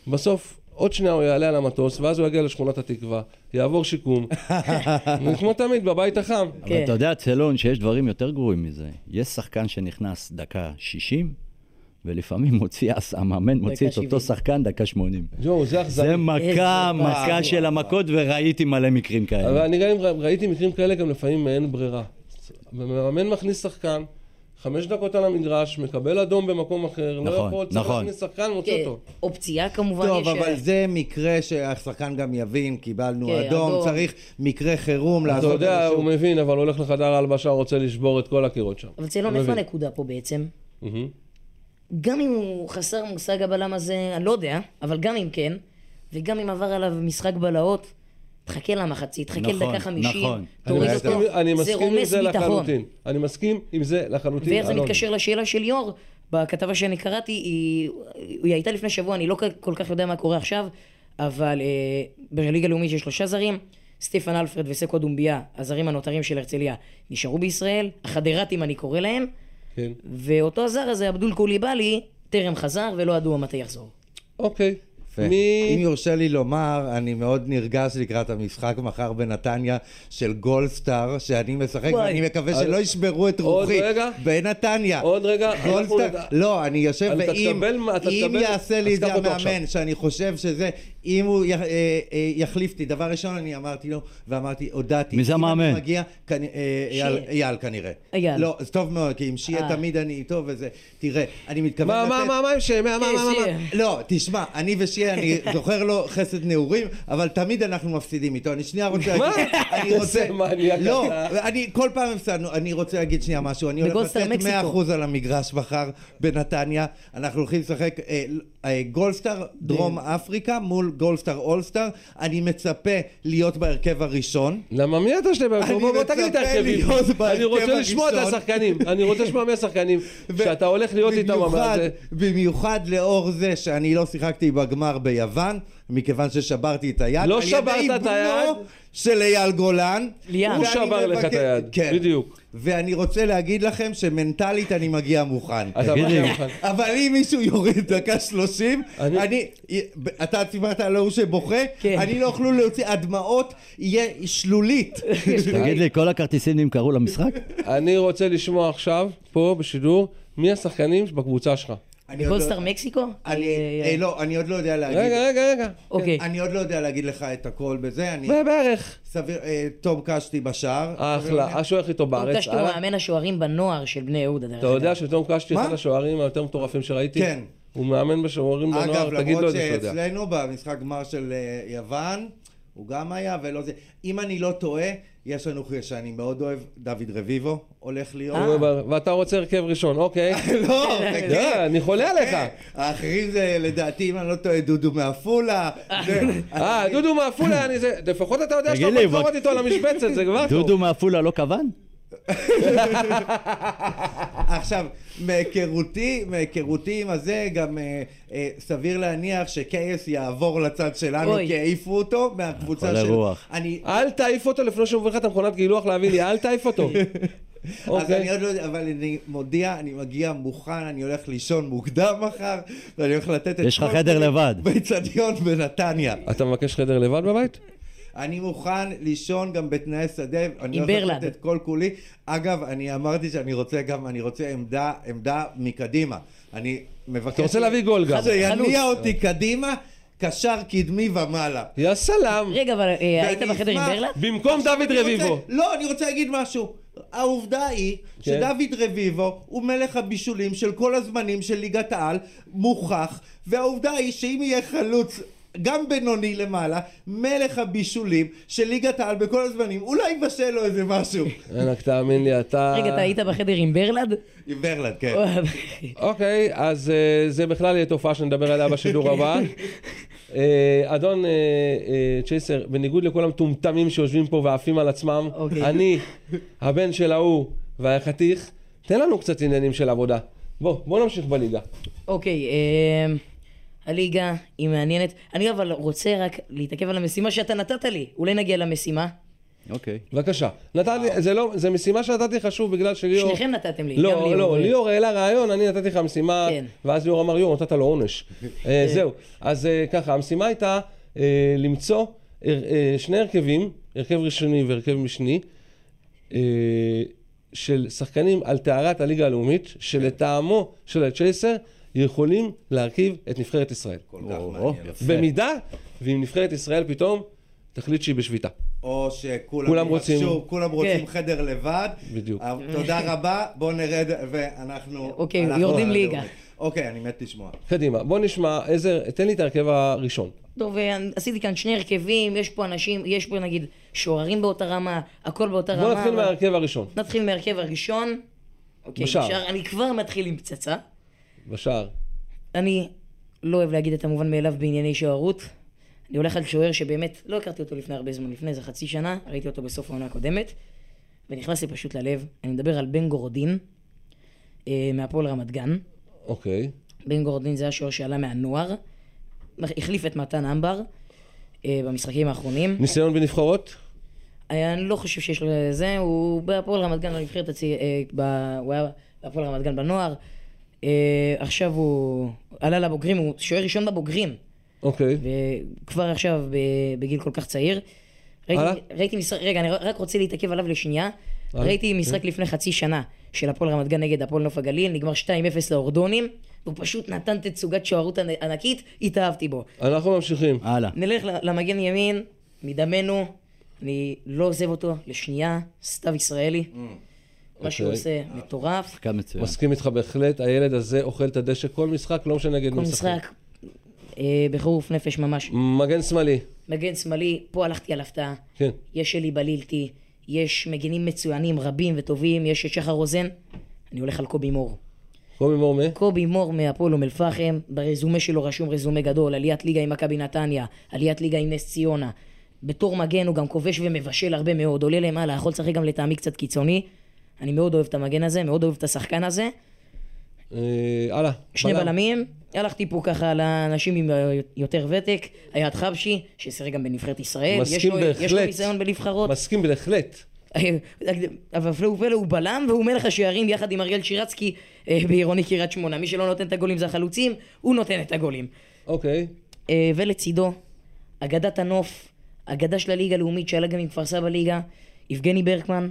S2: בסוף, עוד שנייה הוא יעלה על המטוס, ואז הוא יגיע לשכונת התקווה, יעבור שיקום. וכמו תמיד, בבית החם.
S4: כן.
S3: אבל אתה יודע, צלון, שיש דברים יותר גרועים מזה. יש שחקן שנכנס דקה 60, ולפעמים מוציא, הס- המאמן מוציא את אותו
S4: 70.
S3: שחקן דקה 80.
S2: יואו, זה אכזרי.
S3: זה מכה,
S4: איזה
S3: מכה
S4: פעם.
S3: של המכות, וראיתי מלא מקרים
S2: אבל
S3: כאלה.
S2: אני גם אם- ראיתי מקרים כאלה גם לפעמים מאין ברירה. מאמן מכניס שחקן, חמש דקות על המגרש, מקבל אדום במקום אחר, לא
S3: נכון,
S2: יכול, צריך
S3: נכון.
S2: להכניס שחקן, מוציא
S4: כן,
S2: אותו.
S4: אופציה כמובן
S5: טוב,
S4: יש... אה,
S5: אבל זה מקרה שהשחקן גם יבין, קיבלנו
S4: כן,
S5: אדום,
S4: אדום.
S5: צריך מקרה חירום
S2: אתה
S5: לעשות
S2: יודע,
S5: איזשהו-
S2: הוא מבין, אבל הוא הולך לחדר ההלבשה, רוצה לשבור את כל הקירות שם.
S4: אבל צלון,
S2: הוא
S4: איפה
S2: לא מבין.
S4: הנקודה פה בעצם?
S2: מהמם.
S4: גם אם הוא חסר מושג הבלם הזה, אני לא יודע, אבל גם אם כן, וגם אם עבר עליו משחק בלהות, תחכה למחצית, תחכה
S3: נכון,
S4: לדקה חמישים,
S3: נכון.
S2: אני
S4: תוריד
S2: מסכים-
S4: אותו,
S2: אני
S4: זה
S2: מסכים עם
S4: רומס
S2: זה
S4: ביטחון.
S2: לחלוטין. אני מסכים עם זה לחלוטין.
S4: ואיך זה
S2: אלון.
S4: מתקשר לשאלה של ליאור, בכתבה שאני קראתי, היא, היא הייתה לפני שבוע, אני לא כ- כל כך יודע מה קורה עכשיו, אבל אה, בליגה הלאומית יש שלושה זרים, סטפן אלפרד וסקו דומביה, הזרים הנותרים של הרצליה, נשארו בישראל, החדרתים אני קורא להם,
S2: כן.
S4: ואותו הזר הזה, עבדול קוליבאלי, טרם חזר ולא ידוע מתי יחזור.
S2: אוקיי.
S5: יפה. אם
S2: מי...
S5: יורשה לי לומר, אני מאוד נרגש לקראת המשחק מחר בנתניה של גולדסטאר, שאני משחק
S4: וואי.
S5: ואני מקווה שלא ישברו את
S2: אה, עוד
S5: רוחי.
S2: רגע?
S5: בנתניה.
S2: עוד רגע, אנחנו
S5: גולדסטאר,
S2: נדע-
S5: לא, אני יושב,
S2: אתה
S5: ואם
S2: תקבל מה- אתה
S5: אם
S2: תקבל-
S5: יעשה
S2: אז
S5: לי את זה
S2: קח אותו עכשיו.
S5: המאמן, שאני חושב שזה, אם הוא י- אה, אה, יחליף אותי, דבר ראשון אני אמרתי לו, ואמרתי, הודעתי.
S3: מי זה
S5: אם
S3: המאמן?
S5: אני מגיע, כנ- אה,
S4: שיה.
S5: אייל- אייל כנראה.
S4: אייל.
S5: לא, אז טוב מאוד, כי עם שיה
S4: אה.
S5: תמיד אני איתו וזה, תראה, אני מתכוון
S2: מה,
S5: לתת...
S2: מה, מה, מה עם שם? מה, מה, מה, מה?
S4: שיהיה.
S5: לא, תשמע, אני ושיהיה, אני זוכר לו חסד נעורים, אבל תמיד אנחנו מפסידים איתו. אני שנייה רוצה
S2: מה?
S5: להגיד... אני רוצה...
S2: איזה מניאק
S5: לא,
S2: אתה.
S5: אני כל פעם הפסדנו, אני רוצה להגיד שנייה משהו. אני הולך
S4: בגולדסטאר
S5: לתת 100%
S4: מקסיקו.
S5: על המגרש מחר בנתניה. אנחנו הולכים לשחק אה, אה, גולדסטאר דרום אפריקה מול כל גולדסטאר אולסטאר, אני מצפה להיות בהרכב הראשון.
S2: למה מי אתה שני בהרכב?
S5: אני
S2: בוא בוא תגיד לי את
S5: מצפה
S2: ההרכבים.
S5: להיות
S2: אני
S5: בהרכב
S2: רוצה לשמוע את
S5: הראשון.
S2: השחקנים. אני רוצה לשמוע מי השחקנים.
S5: ו-
S2: שאתה הולך להיות איתם.
S5: במיוחד-
S2: אבל זה-
S5: במיוחד לאור זה שאני לא שיחקתי בגמר ביוון, מכיוון ששברתי את היד.
S2: לא
S5: על ידי
S2: שברת את היד?
S5: בנו של אייל גולן.
S4: ליאם.
S2: הוא
S5: ואני
S2: שבר לך את
S5: מבקש-
S2: היד.
S5: כן.
S2: בדיוק.
S5: ואני רוצה להגיד לכם שמנטלית אני מגיע מוכן.
S2: אתה
S3: תגיד לי.
S2: מגיע מוכן.
S5: אבל אם מישהו יורד דקה שלושים,
S2: אני-
S5: אני... אתה דיברת על ההוא שבוכה,
S4: כן.
S5: אני לא יוכלו להוציא, הדמעות יהיה שלולית.
S3: תגיד לי, כל הכרטיסים נמכרו למשחק?
S2: אני רוצה לשמוע עכשיו, פה בשידור, מי השחקנים בקבוצה שלך.
S5: אני עוד לא-
S4: בגולדסטאר מקסיקו?
S5: אני-
S4: אה,
S5: אה, לא, אני עוד לא יודע להגיד.
S2: רגע, רגע, רגע.
S4: אוקיי.
S5: אני עוד לא יודע להגיד לך את הכל בזה, אני...
S2: זה בערך.
S5: סביר, אה, תום קשתי בשער.
S2: אחלה, השוער הכי טוב בארץ.
S4: עובדה שאתה
S2: הלאה.
S4: מאמן השוערים בנוער של בני יהודה, דרך
S2: אתה יודע שתום קשתי
S5: מה?
S2: אחד השוערים היותר מטורפים שראיתי?
S5: כן.
S2: הוא מאמן בשוערים
S5: אגב,
S2: בנוער, לא, תגיד לו
S5: למרות
S2: את זה שאתה יודע.
S5: שאצלנו במשחק גמר של אה, יוון, הוא גם היה ולא זה. אם אני לא טועה, יש לנו חי- שאני מאוד אוהב, דוד רביבו הולך
S2: הוא
S5: להיות.
S2: אומר, ואתה רוצה הרכב ראשון, אוקיי.
S5: לא, חכה.
S2: אה. לא, אני חולה עליך.
S5: אה, האחרים זה לדעתי, אם אני לא טועה, דודו מעפולה. זה-
S2: אה, דודו מעפולה, אני זה... לפחות אתה יודע
S3: תגיד
S2: שאתה
S3: לי,
S2: יכול לקחת
S3: אבל-
S2: איתו על המשבצת, זה כבר טוב.
S3: דודו מעפולה לא כוון?
S5: עכשיו, מהיכרותי, מהיכרותי עם הזה, גם אה, אה, סביר להניח שקייס יעבור לצד שלנו,
S4: אוי.
S5: כי העיפו אותו מהקבוצה
S3: חולה
S5: של...
S3: רוח.
S5: אני...
S2: אל תעיף אותו לפני שהוא מביא לך את המכונת גילוח להביא לי, אל תעיף אותו.
S5: אז אני
S2: אוקיי.
S5: עוד לא יודע, אבל אני מודיע, אני מגיע מוכן, אני הולך לישון מוקדם מחר, ואני הולך לתת את
S3: יש לך
S5: כל
S3: חדר
S5: זה
S3: לבד.
S5: באצטדיון בנתניה.
S2: אתה מבקש חדר לבד בבית?
S5: אני מוכן לישון גם בתנאי שדה, אני
S4: עם
S5: הולך לתת
S4: ברלנד.
S5: את כל כולי. אגב, אני אמרתי שאני רוצה גם, אני רוצה עמדה, עמדה מקדימה. אני מבקש...
S2: אתה רוצה להביא גול גם.
S5: זה יניע
S4: חלוץ.
S5: אותי קדייא, קשר קדמי ומעלה.
S2: יא סלאם.
S4: רגע, אבל אה, היית
S5: ואני
S4: בחדר עם
S5: אשמח-
S4: ברלנד?
S2: במקום דוד
S5: אני
S2: רביבו. כן.
S5: רוצה- לא, אני רוצה להגיד משהו. העובדה היא שדוד רביבו הוא מלך הבישולים של כל הזמנים של ליגת העל, מוכח, והעובדה היא שאם יהיה חלוץ גם בינוני למעלה, מלך הבישולים של ליגת העל בכל הזמנים, אולי יבשל לו איזה משהו.
S2: ענק, תאמין לי, אתה...
S4: רגע, אתה היית בחדר עם ברלנד?
S5: עם ברלנד, כן.
S2: אוקיי, אז אה, זה בכלל יהיה תופעה שנדבר עליה בשידור הבא. אה, אדון אה, אה, צ'ייסר, בניגוד לכל המטומטמים שיושבים פה ועפים על עצמם,
S4: אוקיי.
S2: אני, הבן של ההוא והחתיך, תן לנו קצת עניינים של עבודה. בוא, בוא נמשיך בליגה.
S4: אוקיי, אמ, הליגה היא מעניינת. אני אבל רוצה רק להתעכב על המשימה שאתה נתת לי. אולי נגיע למשימה?
S3: אוקיי.
S2: בבקשה. נתתי, זה לא, זה משימה שנתתי לך שוב בגלל שליאור...
S4: שניכם נתתם לי. גם לי
S2: לא, לא,
S4: אורי.
S2: ליאור העלה רעיון, אני נתתי לך משימה,
S4: כן.
S2: ואז ליאור אמר, יואו, נתת לו עונש. אה, זהו, אז אה, ככה, המשימה הייתה אה, למצוא הר- אה, שני הרכבים, הרכב ראשוני והרכב משני, אה, של שחקנים על טהרת הליגה הלאומית, שלטעמו של הצ'ייסר יכולים להרכיב את נבחרת ישראל.
S5: כל כך
S3: או,
S5: מעניין.
S3: יפה.
S2: במידה ואם נבחרת ישראל פתאום תחליט שהיא בשביתה.
S5: או שכולם
S2: כולם רוצים-
S5: יבקשו, כולם רוצים
S4: כן.
S5: חדר לבד.
S2: בדיוק.
S5: אה, תודה רבה, בואו נרד, ואנחנו...
S4: אוקיי,
S5: אנחנו-
S4: יורדים ליגה.
S5: אוקיי, אני מת לשמוע.
S2: קדימה, בוא נשמע, איזה, תן לי את ההרכב הראשון.
S4: טוב, ואני- עשיתי כאן שני הרכבים, יש פה אנשים, יש פה נגיד שוערים באותה רמה, הכל באותה רמה.
S2: בוא נתחיל
S4: אבל-
S2: מההרכב הראשון,
S4: נתחיל מהרכב הראשון. אוקיי,
S2: בשער.
S4: בשער. אני כבר מתחיל עם פצצה.
S2: בשער.
S4: אני לא אוהב להגיד את המובן מאליו בענייני שוערות. אני הולך על שוער שבאמת לא הכרתי אותו לפני הרבה זמן, לפני איזה חצי שנה, ראיתי אותו בסוף העונה הקודמת, ונכנס לי פשוט ללב. אני מדבר על בן גורדין, אה, מהפועל רמת גן.
S2: אוקיי.
S4: בן גורדין זה השוער שעלה מהנוער, החליף את מתן אמבר אה, במשחקים האחרונים.
S2: ניסיון בנבחרות?
S4: אה, אני לא חושב שיש לו זה, הוא בהפועל רמת גן בנבחרת הצי... אה, ב... הוא היה בהפועל רמת גן בנוער. אה, עכשיו הוא עלה לבוגרים, הוא שוער ראשון בבוגרים.
S2: אוקיי.
S4: וכבר עכשיו ב- בגיל כל כך צעיר.
S2: הלאה.
S4: ראיתי, ראיתי משחק, רגע, אני רק רוצה להתעכב עליו לשנייה.
S2: הלאה. כן.
S4: ראיתי משחק לפני חצי שנה של הפועל רמת גן נגד הפועל נוף הגליל, נגמר 2-0 לאורדונים, והוא פשוט נתן תצוגת שוערות ענ- ענקית, התאהבתי בו.
S2: אנחנו ממשיכים.
S3: הלאה.
S4: נלך ל- למגן ימין, מדמנו, אני לא עוזב אותו לשנייה, סתיו ישראלי. מה שהוא
S2: Mm, אוקיי.
S4: עושה מטורף.
S3: שחקן מצוין.
S2: מסכים איתך בהחלט, הילד הזה אוכל את הדשא כל משחק, לא משנה נגד
S4: כל
S2: מי משחק.
S4: משחק, אה, בחירוף נפש ממש.
S2: מגן שמאלי,
S4: מגן שמאלי, פה הלכתי על הפתעה.
S2: כן.
S4: יש אלי בלילטי, יש מגינים מצוינים רבים וטובים, יש את שחר רוזן. אני הולך על קובי מור.
S2: קובי מורמה,
S4: קובי מור מהפועל אום אל-פחם, ברזומה שלו רשום רזומה גדול, עליית ליגה עם מכבי נתניה, עליית ליגה עם נס ציונה. בתור מגן הוא גם כובש ומבשל הרבה מאוד, עולה למעלה, יכול לשחק גם לטעמי קצת קיצוני. אני מאוד אוהב את המגן הזה, מאוד אוהב את השחקן הזה.
S2: אה, הלאה.
S4: שני
S2: בלם.
S4: בלמים, הלכתי פה ככה לאנשים עם אה, יותר ותק, היה את חבשי, ששיחק גם בנבחרת ישראל, יש
S2: מסכים
S4: לו-
S2: בהחלט.
S4: יש לו ניסיון בנבחרות,
S2: מסכים בהחלט.
S4: אה, אבל הפלא ופלא הוא בלם והוא מלך השערים יחד עם אריאל שירצקי אה, בעירוני קריית שמונה. מי שלא נותן את הגולים זה החלוצים, הוא נותן את הגולים.
S2: אוקיי.
S4: אה, ולצידו, אגדת הנוף, אגדה של הליגה הלאומית שעלה גם עם כפר סבא ליגה, יבגני ברקמן.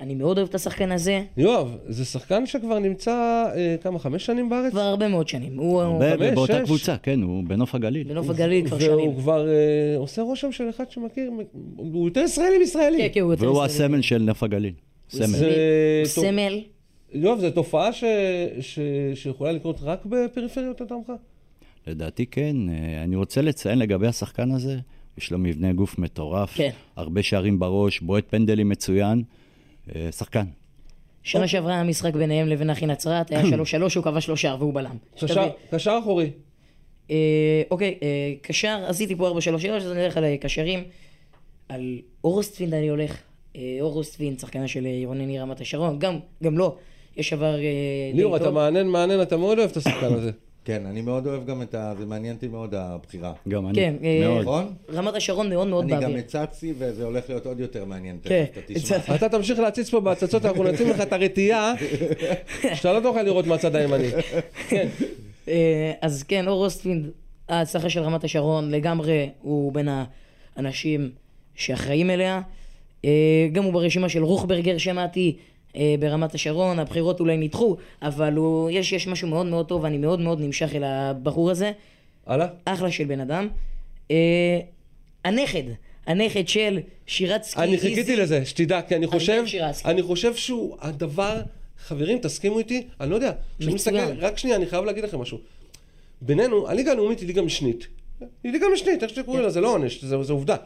S4: אני מאוד אוהב את השחקן הזה,
S2: יואב, זה שחקן שכבר נמצא אה, כמה, חמש שנים בארץ?
S4: כבר הרבה מאוד שנים. הוא הוא
S3: ב-
S2: חמש,
S3: באותה
S2: שש.
S3: קבוצה, כן, הוא בנוף הגליל.
S4: בנוף הגליל כבר שנים.
S2: והוא כבר אה, עושה רושם של אחד שמכיר, הוא יותר ישראלי מישראלי.
S4: כן, כן, הוא יותר
S3: והוא
S4: ישראלי.
S3: הסמל של נוף הגליל. סמל.
S2: זה-
S4: הוא
S2: טוב.
S4: סמל.
S2: יואב, זו תופעה ש... ש... שיכולה לקרות רק בפריפריות לטעמך?
S3: לדעתי כן. אה, אני רוצה לציין לגבי השחקן הזה, יש לו מבנה גוף מטורף.
S4: כן.
S3: הרבה שערים בראש, בועט פנדלים מצוין. אה, שחקן.
S4: שנה שעברה היה משחק ביניהם לבין אחי נצרת, היה 3-3, הוא כבש לו שער והוא בלם.
S2: קשר,
S4: שתבין.
S2: קשר אחורי.
S4: אה, אוקיי, אה, קשר, עשיתי פה 433, אז אני הולך על קשרים. על אורוסטפינד אני הולך. אה, אורוסטפינד, שחקנה של אה, רונני רמת השרון, גם, גם לא. יש עבר... אה, די
S2: ליאור, אתה
S4: טוב.
S2: מעניין, מעניין, אתה מאוד אוהב את השחקן הזה.
S5: כן, אני מאוד אוהב גם את ה... זה מעניין אותי מאוד הבחירה.
S3: גם אני.
S4: כן, אה,
S3: מאוד.
S5: נכון?
S4: רמת השרון מאוד מאוד
S5: אני גם
S4: באוויר.
S5: הצצתי, וזה הולך להיות עוד יותר מעניין. תכף,
S4: כן,
S5: אתה תשמע.
S4: הצצתי.
S2: אתה תמשיך להציץ פה בהצצות, אנחנו נציב לך את הרתיעה, שאתה לא תוכל לראות מהצד הימני.
S4: אה, אז כן, אור אוסטפינד, ההצלחה של רמת השרון, לגמרי הוא בין האנשים שאחראים אליה. אה, גם הוא ברשימה של רוכברגר שמעתי אה, ברמת השרון, הבחירות אולי נדחו, אבל הוא, יש, יש משהו מאוד מאוד טוב, אני מאוד מאוד נמשך אל הבחור הזה.
S2: הלאה.
S4: אחלה של בן אדם. אה, הנכד, הנכד של שירצקי
S2: אני חיכיתי לזה, שתדע, כי אני חושב,
S4: שירצקי.
S2: אני חושב שהוא הדבר, חברים, תסכימו איתי, אני לא יודע, כשאני מסתכל,
S4: מצוין.
S2: רק שנייה, אני חייב להגיד לכם משהו. בינינו, הליגה הלאומית היא ליגה משנית. היא ליגה משנית, איך שקוראים לה, זה לא עונש, זה, זה עובדה.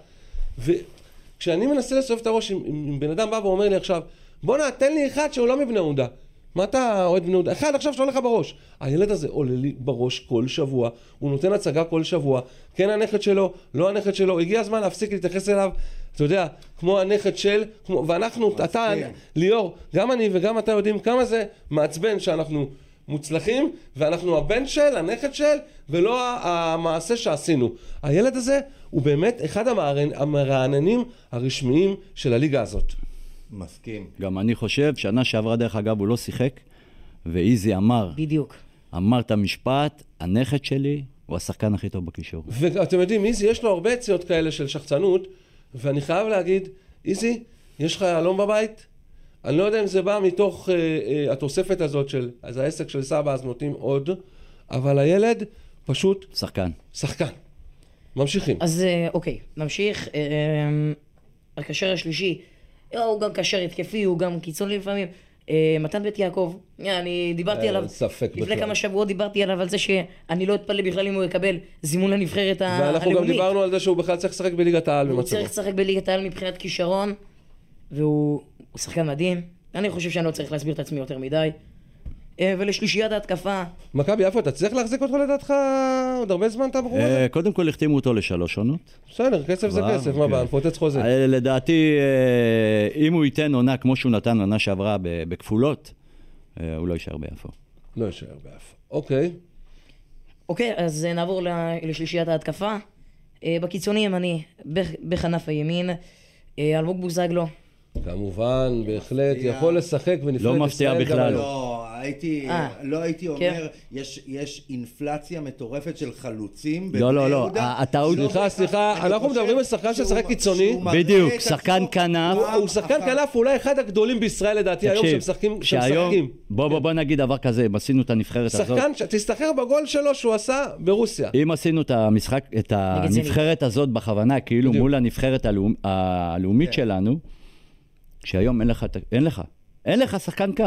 S2: וכשאני מנסה לסובב את הראש, אם, אם אם בן אדם בא ואומר לי עכשיו, בואנה, תן לי אחד שהוא לא מבני יהודה. מה אתה אוהד בני יהודה? אחד עכשיו שעולה לך בראש. הילד הזה עולה לי בראש כל שבוע, הוא נותן הצגה כל שבוע, כן הנכד שלו, לא הנכד שלו, הגיע הזמן להפסיק להתייחס אליו, אתה יודע, כמו הנכד של, כמו, ואנחנו, אתה, ליאור, גם אני וגם אתה יודעים כמה זה מעצבן שאנחנו מוצלחים, ואנחנו הבן של, הנכד של, ולא ה- המעשה שעשינו. הילד הזה הוא באמת אחד המרענ- המרעננים הרשמיים של הליגה הזאת.
S5: מסכים.
S3: גם אני חושב, שנה שעברה, דרך אגב, הוא לא שיחק, ואיזי אמר,
S4: בדיוק.
S3: אמר את המשפט, הנכד שלי הוא השחקן הכי טוב בקישור.
S2: ואתם יודעים, איזי, יש לו הרבה יציאות כאלה של שחצנות, ואני חייב להגיד, איזי, יש לך יהלום בבית? אני לא יודע אם זה בא מתוך אה, אה, התוספת הזאת של, אז העסק של סבא, אז נותנים עוד, אבל הילד פשוט
S3: שחקן.
S2: שחקן. ממשיכים.
S4: אז אה, אוקיי, נמשיך. אה, אה, הקשר השלישי, אה, הוא גם קשר התקפי, הוא גם קיצוני לפעמים. אה, מתן בית יעקב, אה, אני דיברתי
S2: אין
S4: עליו,
S2: ספק
S4: לפני
S2: בכלל.
S4: כמה שבועות דיברתי עליו על זה שאני לא אתפלא בכלל אם הוא יקבל זימון לנבחרת ה- הלאומית.
S2: ואנחנו גם דיברנו על זה שהוא בכלל צריך לשחק בליגת העל
S4: הוא
S2: במצבו.
S4: צריך לשחק בליגת העל מבחינת כישרון, והוא הוא שחקן מדהים. אני חושב שאני לא צריך להסביר את עצמי יותר מדי. אה, ולשלישיית ההתקפה,
S2: מכבי יפו, אתה צריך להחזיק אותו לדעתך עוד הרבה זמן את הבחור הזה?
S3: אה, קודם כל החתימו אותו לשלוש עונות.
S2: בסדר, כסף זה
S3: וואו,
S2: כסף, מה
S3: אוקיי.
S2: בעיה, פוצץ חוזה.
S3: אה, לדעתי, אה, אם הוא ייתן עונה כמו שהוא נתן עונה שעברה ב- בכפולות, אה, הוא לא יישאר ביפו.
S2: לא יישאר באף. אוקיי.
S4: אוקיי, אז אה, נעבור ל- לשלישיית ההתקפה. אה, בקיצוני ימני, בח- בכנף הימין, אה, אלמוג בוזגלו.
S2: כמובן, בהחלט, יכול לשחק בנפרד
S3: לא מפתיע
S2: ישראל גם
S3: בכלל.
S2: היום.
S5: לא, הייתי,
S4: אה,
S5: לא הייתי
S4: כן.
S5: אומר, יש, יש אינפלציה מטורפת של חלוצים.
S3: לא, לא,
S5: בבני
S3: לא,
S5: יהודה.
S3: ה- הטעות-
S5: לא
S2: סליחה,
S5: בהכרח.
S2: סליחה,
S5: אני
S2: אנחנו
S5: חושב
S2: מדברים על שחקן
S5: שהוא-
S2: ששחק קיצוני.
S5: שהוא מראה
S3: בדיוק,
S5: את
S3: שחקן
S5: עצמו
S3: כנף.
S5: פעם
S2: הוא- הוא שחקן
S5: אחר-
S2: כנף אולי אחד הגדולים בישראל לדעתי היום שמשחקים, שמשחקים. כן.
S3: בוא, בוא, בוא נגיד דבר כזה, אם עשינו את הנבחרת הזאת,
S2: שחקן, ש- תסתחר בגול שלו שהוא עשה ברוסיה.
S3: אם עשינו את המשחק, את
S4: נגד זנית.
S3: הנבחרת הזאת בכוונה, כאילו
S2: בדיוק. כן.
S3: מול הנבחרת הלאומ- הלאומית שלנו, שהיום אין לך, את- אין לך, אין לך שחקן קו,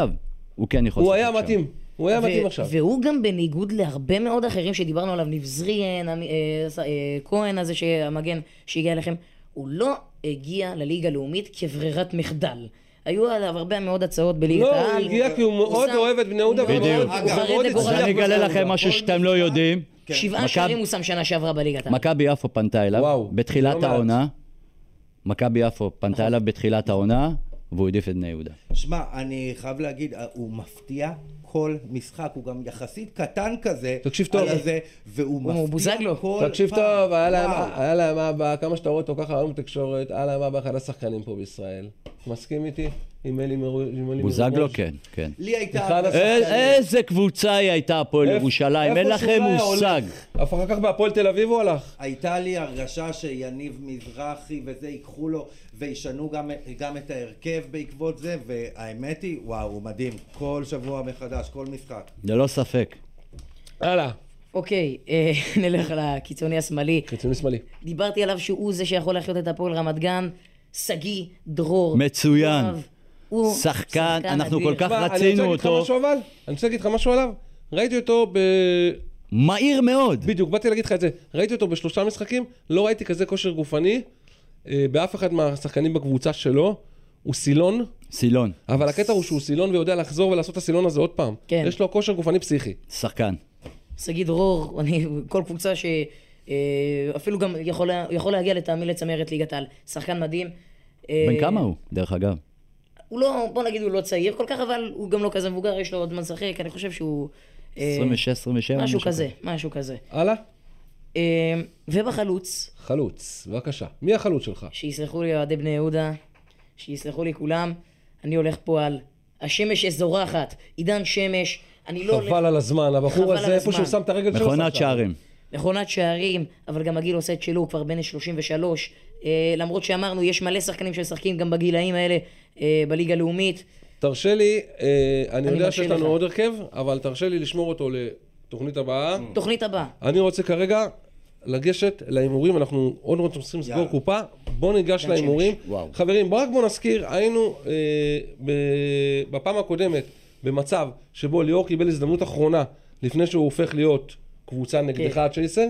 S3: הוא כן יכול
S2: הוא
S3: לשחק
S2: היה
S3: שם.
S2: מתאים, הוא היה מתאים עכשיו.
S4: והוא גם בניגוד להרבה מאוד אחרים שדיברנו עליו, ניב זריאן, עמי- אה, ס- אה, כהן הזה, שהמגן שהגיע אליכם, הוא לא הגיע לליגה הלאומית כברירת מחדל. היו עליו הרבה מאוד הצעות בליגת
S2: לא,
S4: העל.
S2: הוא הגיע כי הוא מאוד
S4: שם-
S2: אוהב את בני יהודה. והוא
S3: בדיוק.
S2: מאוד-
S4: הוא
S5: אגב,
S4: חרד
S5: עוד
S4: לגורלו.
S5: הצעה
S3: אז אני אגלה לכם משהו שאתם לא יודעים.
S2: כן.
S4: שבעה
S3: מכבי-
S4: שערים הוא שם שנה שעברה בליגת העל.
S3: מכבי יפו פנתה אליו
S2: וואו, לא
S3: בתחילת
S2: מעט. נכון.
S3: העונה. מכבי יפו פנתה אליו בתחילת העונה, והוא העדיף את בני יהודה.
S5: שמע, אני חייב להגיד, אה, הוא מפתיע כל משחק, הוא גם יחסית קטן כזה.
S2: תקשיב טוב.
S5: על הזה, והוא
S4: הוא
S5: מפתיע
S4: בוזגלו.
S5: כל פעם.
S2: תקשיב טוב, היה להם-
S5: וואו.
S2: היה להם אבא, כמה שאתה רואה אותו ככה היום בתקשורת, היה להם אבא אחד השחקנים פה בישראל. מסכים איתי? עם אלי מרו- עם אלי מרוש?
S3: בוזגלו כן, כן.
S5: לי הייתה...
S2: אחד
S5: הרגשה-
S2: השחקנים.
S3: אה, איזה קבוצה היא הייתה הפועל
S2: איפה-
S3: ירושלים, אין
S2: איפה שהוא
S3: לכם
S2: היה
S3: מושג.
S2: הולך? אחר כך בהפועל תל אביב הוא הלך.
S5: הייתה לי הרגשה שיניב מזרחי וזה ייקחו לו וישנו גם, גם את ההרכב בעקבות זה והאמת היא וואו הוא מדהים כל שבוע מחדש כל משחק
S3: ללא לא ספק.
S2: הלאה.
S4: אוקיי, אה, נלך לקיצוני השמאלי.
S2: חיצוני שמאלי.
S4: דיברתי עליו שהוא זה שיכול להחיות את הפועל רמת גן, שגיא, דרור.
S3: מצוין.
S4: יואב. הוא
S3: שחקן, אנחנו
S4: אדיר.
S3: כל כך-
S2: תשמע,
S3: רצינו
S2: אני רוצה להגיד לך
S3: אותו.
S2: משהו אבל, אני רוצה להגיד לך משהו עליו. ראיתי אותו ב...
S3: מהיר מאוד.
S2: בדיוק, באתי להגיד לך את זה. ראיתי אותו בשלושה משחקים, לא ראיתי כזה כושר גופני אה, באף אחד מהשחקנים בקבוצה שלו. הוא סילון,
S3: סילון,
S2: אבל הקטע הוא שהוא סילון ויודע לחזור ולעשות את הסילון הזה עוד פעם.
S4: כן.
S2: יש לו כושר גופני פסיכי.
S3: שחקן.
S4: שגיא דרור, אני, כל קבוצה ש... אה, אפילו גם יכול, לה- יכול להגיע לטעמי לצמרת ליגת העל. שחקן מדהים. אה,
S3: בן כמה הוא, דרך אגב?
S4: הוא לא, בוא נגיד הוא לא צעיר כל כך, אבל הוא גם לא כזה מבוגר, יש לו עוד זמן לשחק, אני חושב שהוא... אה,
S3: 26, 27?
S4: משהו כזה, משהו כזה.
S2: הלאה.
S4: אה, ובחלוץ,
S2: חלוץ, בבקשה. מי החלוץ שלך?
S4: שיסלחו לי אוהדי בני יהודה, שיסלחו לי כולם, אני הולך פה על השמש שזורחת, עידן שמש, אני לא הולך
S2: חבל על הזמן, הבחור
S4: חבל על
S2: הזה, איפה
S4: הזמן.
S2: שהוא שם את הרגל שלו, שם
S3: מכונת
S2: שם.
S3: שערים.
S4: אוקיי. מכונת שערים, אבל גם הגיל עושה את שלו, הוא כבר בן 33. אה, למרות שאמרנו, יש מלא שחקנים שמשחקים גם בגילאים האלה אה, בליגה הלאומית.
S2: תרשה לי, אה, אני יודע
S4: מרשה
S2: שיש לנו
S4: לך.
S2: עוד הרכב, אבל תרשה לי לשמור אותו לתוכנית הבאה.
S4: תוכנית הבאה.
S2: אני רוצה כרגע לגשת להימורים, אנחנו עוד מעט צריכים לסגור
S5: יאללה.
S2: קופה, בואו ניגש
S4: שמש.
S2: להימורים.
S3: וואו.
S2: חברים, בואו רק בואו נזכיר, היינו אה, ב- בפעם הקודמת במצב שבו ליאור קיבל הזדמנות אחרונה לפני שהוא הופך להיות קבוצה נגדך
S4: כן.
S2: הצ'ייסר.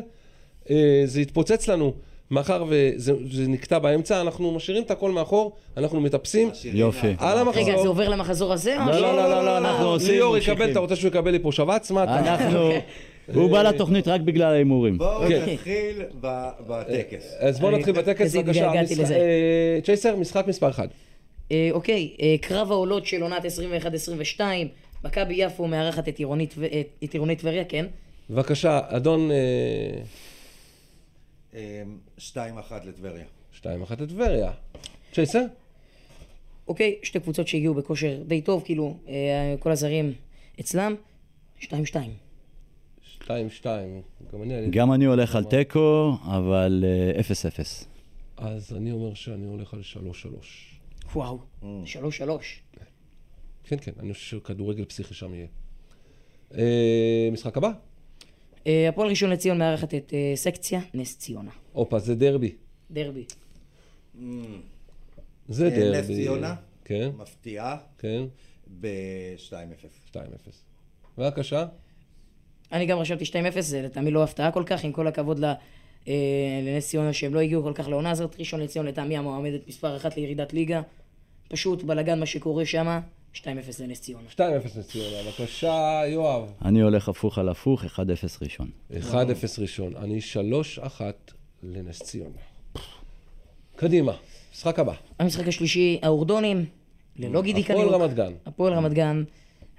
S2: אה, זה התפוצץ לנו. מאחר וזה זה נקטע באמצע, אנחנו משאירים את הכל מאחור, אנחנו מטפסים.
S3: יופי.
S5: אה,
S2: על המחזור.
S4: רגע, זה עובר למחזור הזה? אה, או
S3: לא,
S4: ש-
S3: לא, לא, לא, לא, אנחנו עושים,
S2: אה, ליאור
S3: ממשיכים.
S2: יקבל, אתה רוצה שהוא יקבל לי פה שבץ? מה אתה?
S3: אנחנו... הוא בא לתוכנית רק בגלל ההימורים.
S5: בואו
S2: כן. אה,
S5: נתחיל ב- בטקס
S2: אז בואו
S4: אני-
S2: נתחיל בטקס,
S4: איזה
S2: בבקשה.
S4: התגעגעתי
S2: משחק-
S4: לזה.
S2: אה, צ'ייסר, משחק מספר 1.
S4: אה, אוקיי, אה, קרב העולות של עונת 21-22, מכבי יפו מארחת את עירונית טב- אה, את עירונית טבריה, כן?
S2: בבקשה, אדון אה,
S5: אמ, 2-1 לטבריה
S2: 2-1 לטבריה. צ'ייסר?
S4: אוקיי, שתי קבוצות שהגיעו בכושר די טוב, כאילו, אה, כל הזרים אצלם, 2-2.
S2: 2-2. גם אני עליתי.
S3: גם אני הולך על תיקו, אבל אה, 0-0.
S2: אז אני אומר שאני הולך על 3-3.
S4: וואו, 3-3.
S2: כן, כן, אני חושב שכדורגל פסיכי שם יהיה. אה, משחק הבא?
S4: אה, הפועל ראשון לציון מארחת את אה, סקציה נס ציונה.
S2: הופה, זה דרבי.
S4: דרבי.
S2: זה
S5: אה,
S2: דרבי.
S5: נס ציונה?
S2: כן,
S5: מפתיעה
S2: כן,
S5: ב-2-0
S2: 2-0. בבקשה.
S4: אני גם רשמתי 2-0, זה לטעמי לא הפתעה כל כך, עם כל הכבוד ל... אה, לנס ציונה שהם לא הגיעו כל כך לעונה הזאת, ראשון לציון לטעמי המועמדת מספר אחת לירידת ליגה. פשוט בלאגן מה שקורה שם, 2-0 לנס ציונה.
S2: 2-0 נס ציונה, בבקשה, יואב.
S3: אני הולך הפוך על הפוך, 1-0 ראשון.
S2: 1-0 ראשון, אני 3-1 לנס ציונה. קדימה, משחק הבא.
S4: המשחק השלישי, האורדונים, ללא גידי
S2: הפועל
S4: קניוק.
S2: רמת גן.
S4: הפועל רמת גן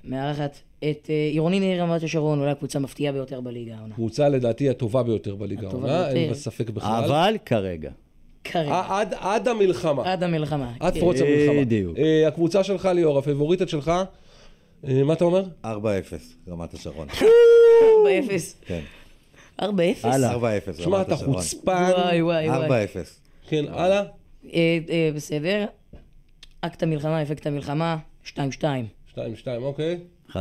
S4: מארחת את אה, עירוני ניר רמת השרון, אולי הקבוצה המפתיעה ביותר בליגה העונה.
S2: קבוצה לדעתי הטובה ביותר בליגה
S4: הטובה
S2: העונה, אין
S4: ביותר.
S2: בספק בכלל.
S3: אבל כרגע.
S2: אה,
S4: כרגע,
S2: ע- עד- עד המלחמה,
S4: עד המלחמה.
S2: עד
S4: כן.
S2: פרוץ המלחמה.
S3: בדיוק.
S2: אה, הקבוצה שלך, ליאור, הפבוריטית שלך, אה, מה אתה אומר?
S5: 4-0 רמת השרון
S2: אה,
S4: 4-0.
S5: כן
S4: 4-0?
S3: הלאה.
S5: 4-0
S2: שמע,
S5: רמת
S2: אתה
S5: השרון
S2: חוצפן.
S4: וואי וואי וואי.
S5: 4-0
S2: כן, הלאה.
S4: אה, אה, בסדר. אקט המלחמה, אפקט המלחמה, 2-2.
S2: 2-2, אוקיי.
S3: 1-0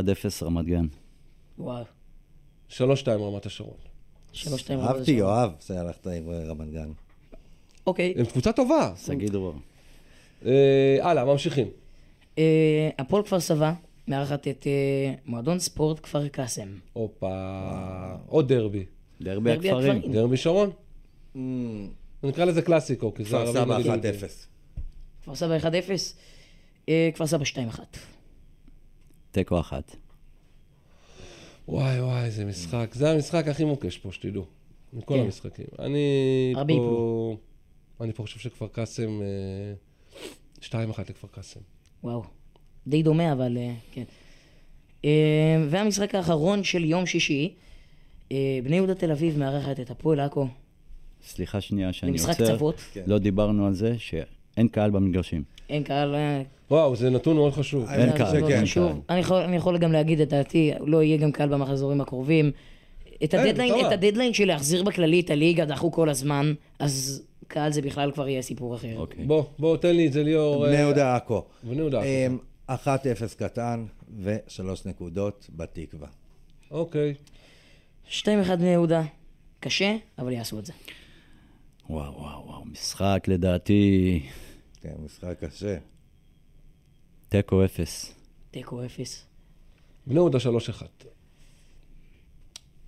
S3: רמת גן.
S4: וואו.
S2: 3-2 רמת השרון.
S4: 3-2.
S5: אהבתי יואב שהלכת עם אה, רמת גן
S4: אוקיי.
S2: הם קבוצה טובה.
S3: שגיא דרור.
S2: אה, הלאה, ממשיכים.
S4: אה, הפועל כפר סבא מארחת את אה, מועדון ספורט כפר קאסם.
S2: הופה, עוד דרבי.
S3: דרבי
S4: דרבי
S3: הכפרים.
S4: הכפרים.
S2: דרבי שרון? נקרא לזה קלאסיקו, כי זה
S5: Mm. כפר
S2: ערבים
S5: סבא
S2: נגד
S5: 1-0
S2: יהודים.
S4: כפר סבא 1-0. אה, כפר סבא 2-1.
S3: תיקו אחת.
S2: וואי וואי, זה משחק, זה המשחק הכי מוקש פה, שתדעו. מכל
S4: כן.
S2: המשחקים. אני
S4: הרבה
S2: פה... אני פה חושב שכפר קאסם... אה, 2-1 לכפר קאסם.
S4: וואו, די דומה, אבל אה, כן. אה, והמשחק האחרון של יום שישי, אה, בני יהודה תל אביב מארחת את הפועל עכו
S3: סליחה שנייה שאני עוצר.
S4: למשחק צפות.
S3: לא דיברנו על זה שאין קהל במגרשים.
S4: אין קהל, אה,
S2: וואו, זה נתון מאוד חשוב.
S5: אין
S4: זה
S5: קהל,
S4: מאוד
S5: כן.
S4: חשוב.
S3: אין
S4: אני יכול- אני יכול גם להגיד את דעתי, לא יהיה גם קהל במחזורים הקרובים. את
S2: אין,
S4: הדדליין,
S2: למה?
S4: את הדדליין של להחזיר בכללי את הליגה דחו כל הזמן, אז קהל זה בכלל כבר יהיה סיפור אחר.
S3: אוקיי.
S2: בוא, בוא, תן לי את זה ליאור.
S5: בני
S2: אה,
S5: יהודה עכו.
S2: בני יהודה עכו. כן.
S5: אמ, 1-0 קטן ושלוש נקודות בתקווה.
S2: אוקיי.
S4: 2-1 בני יהודה, קשה, אבל יעשו את זה.
S3: וואו, וואו, וואו, משחק לדעתי
S5: כן, משחק קשה.
S3: תיקו אפס.
S4: תיקו אפס.
S2: בני יהודה 3-1.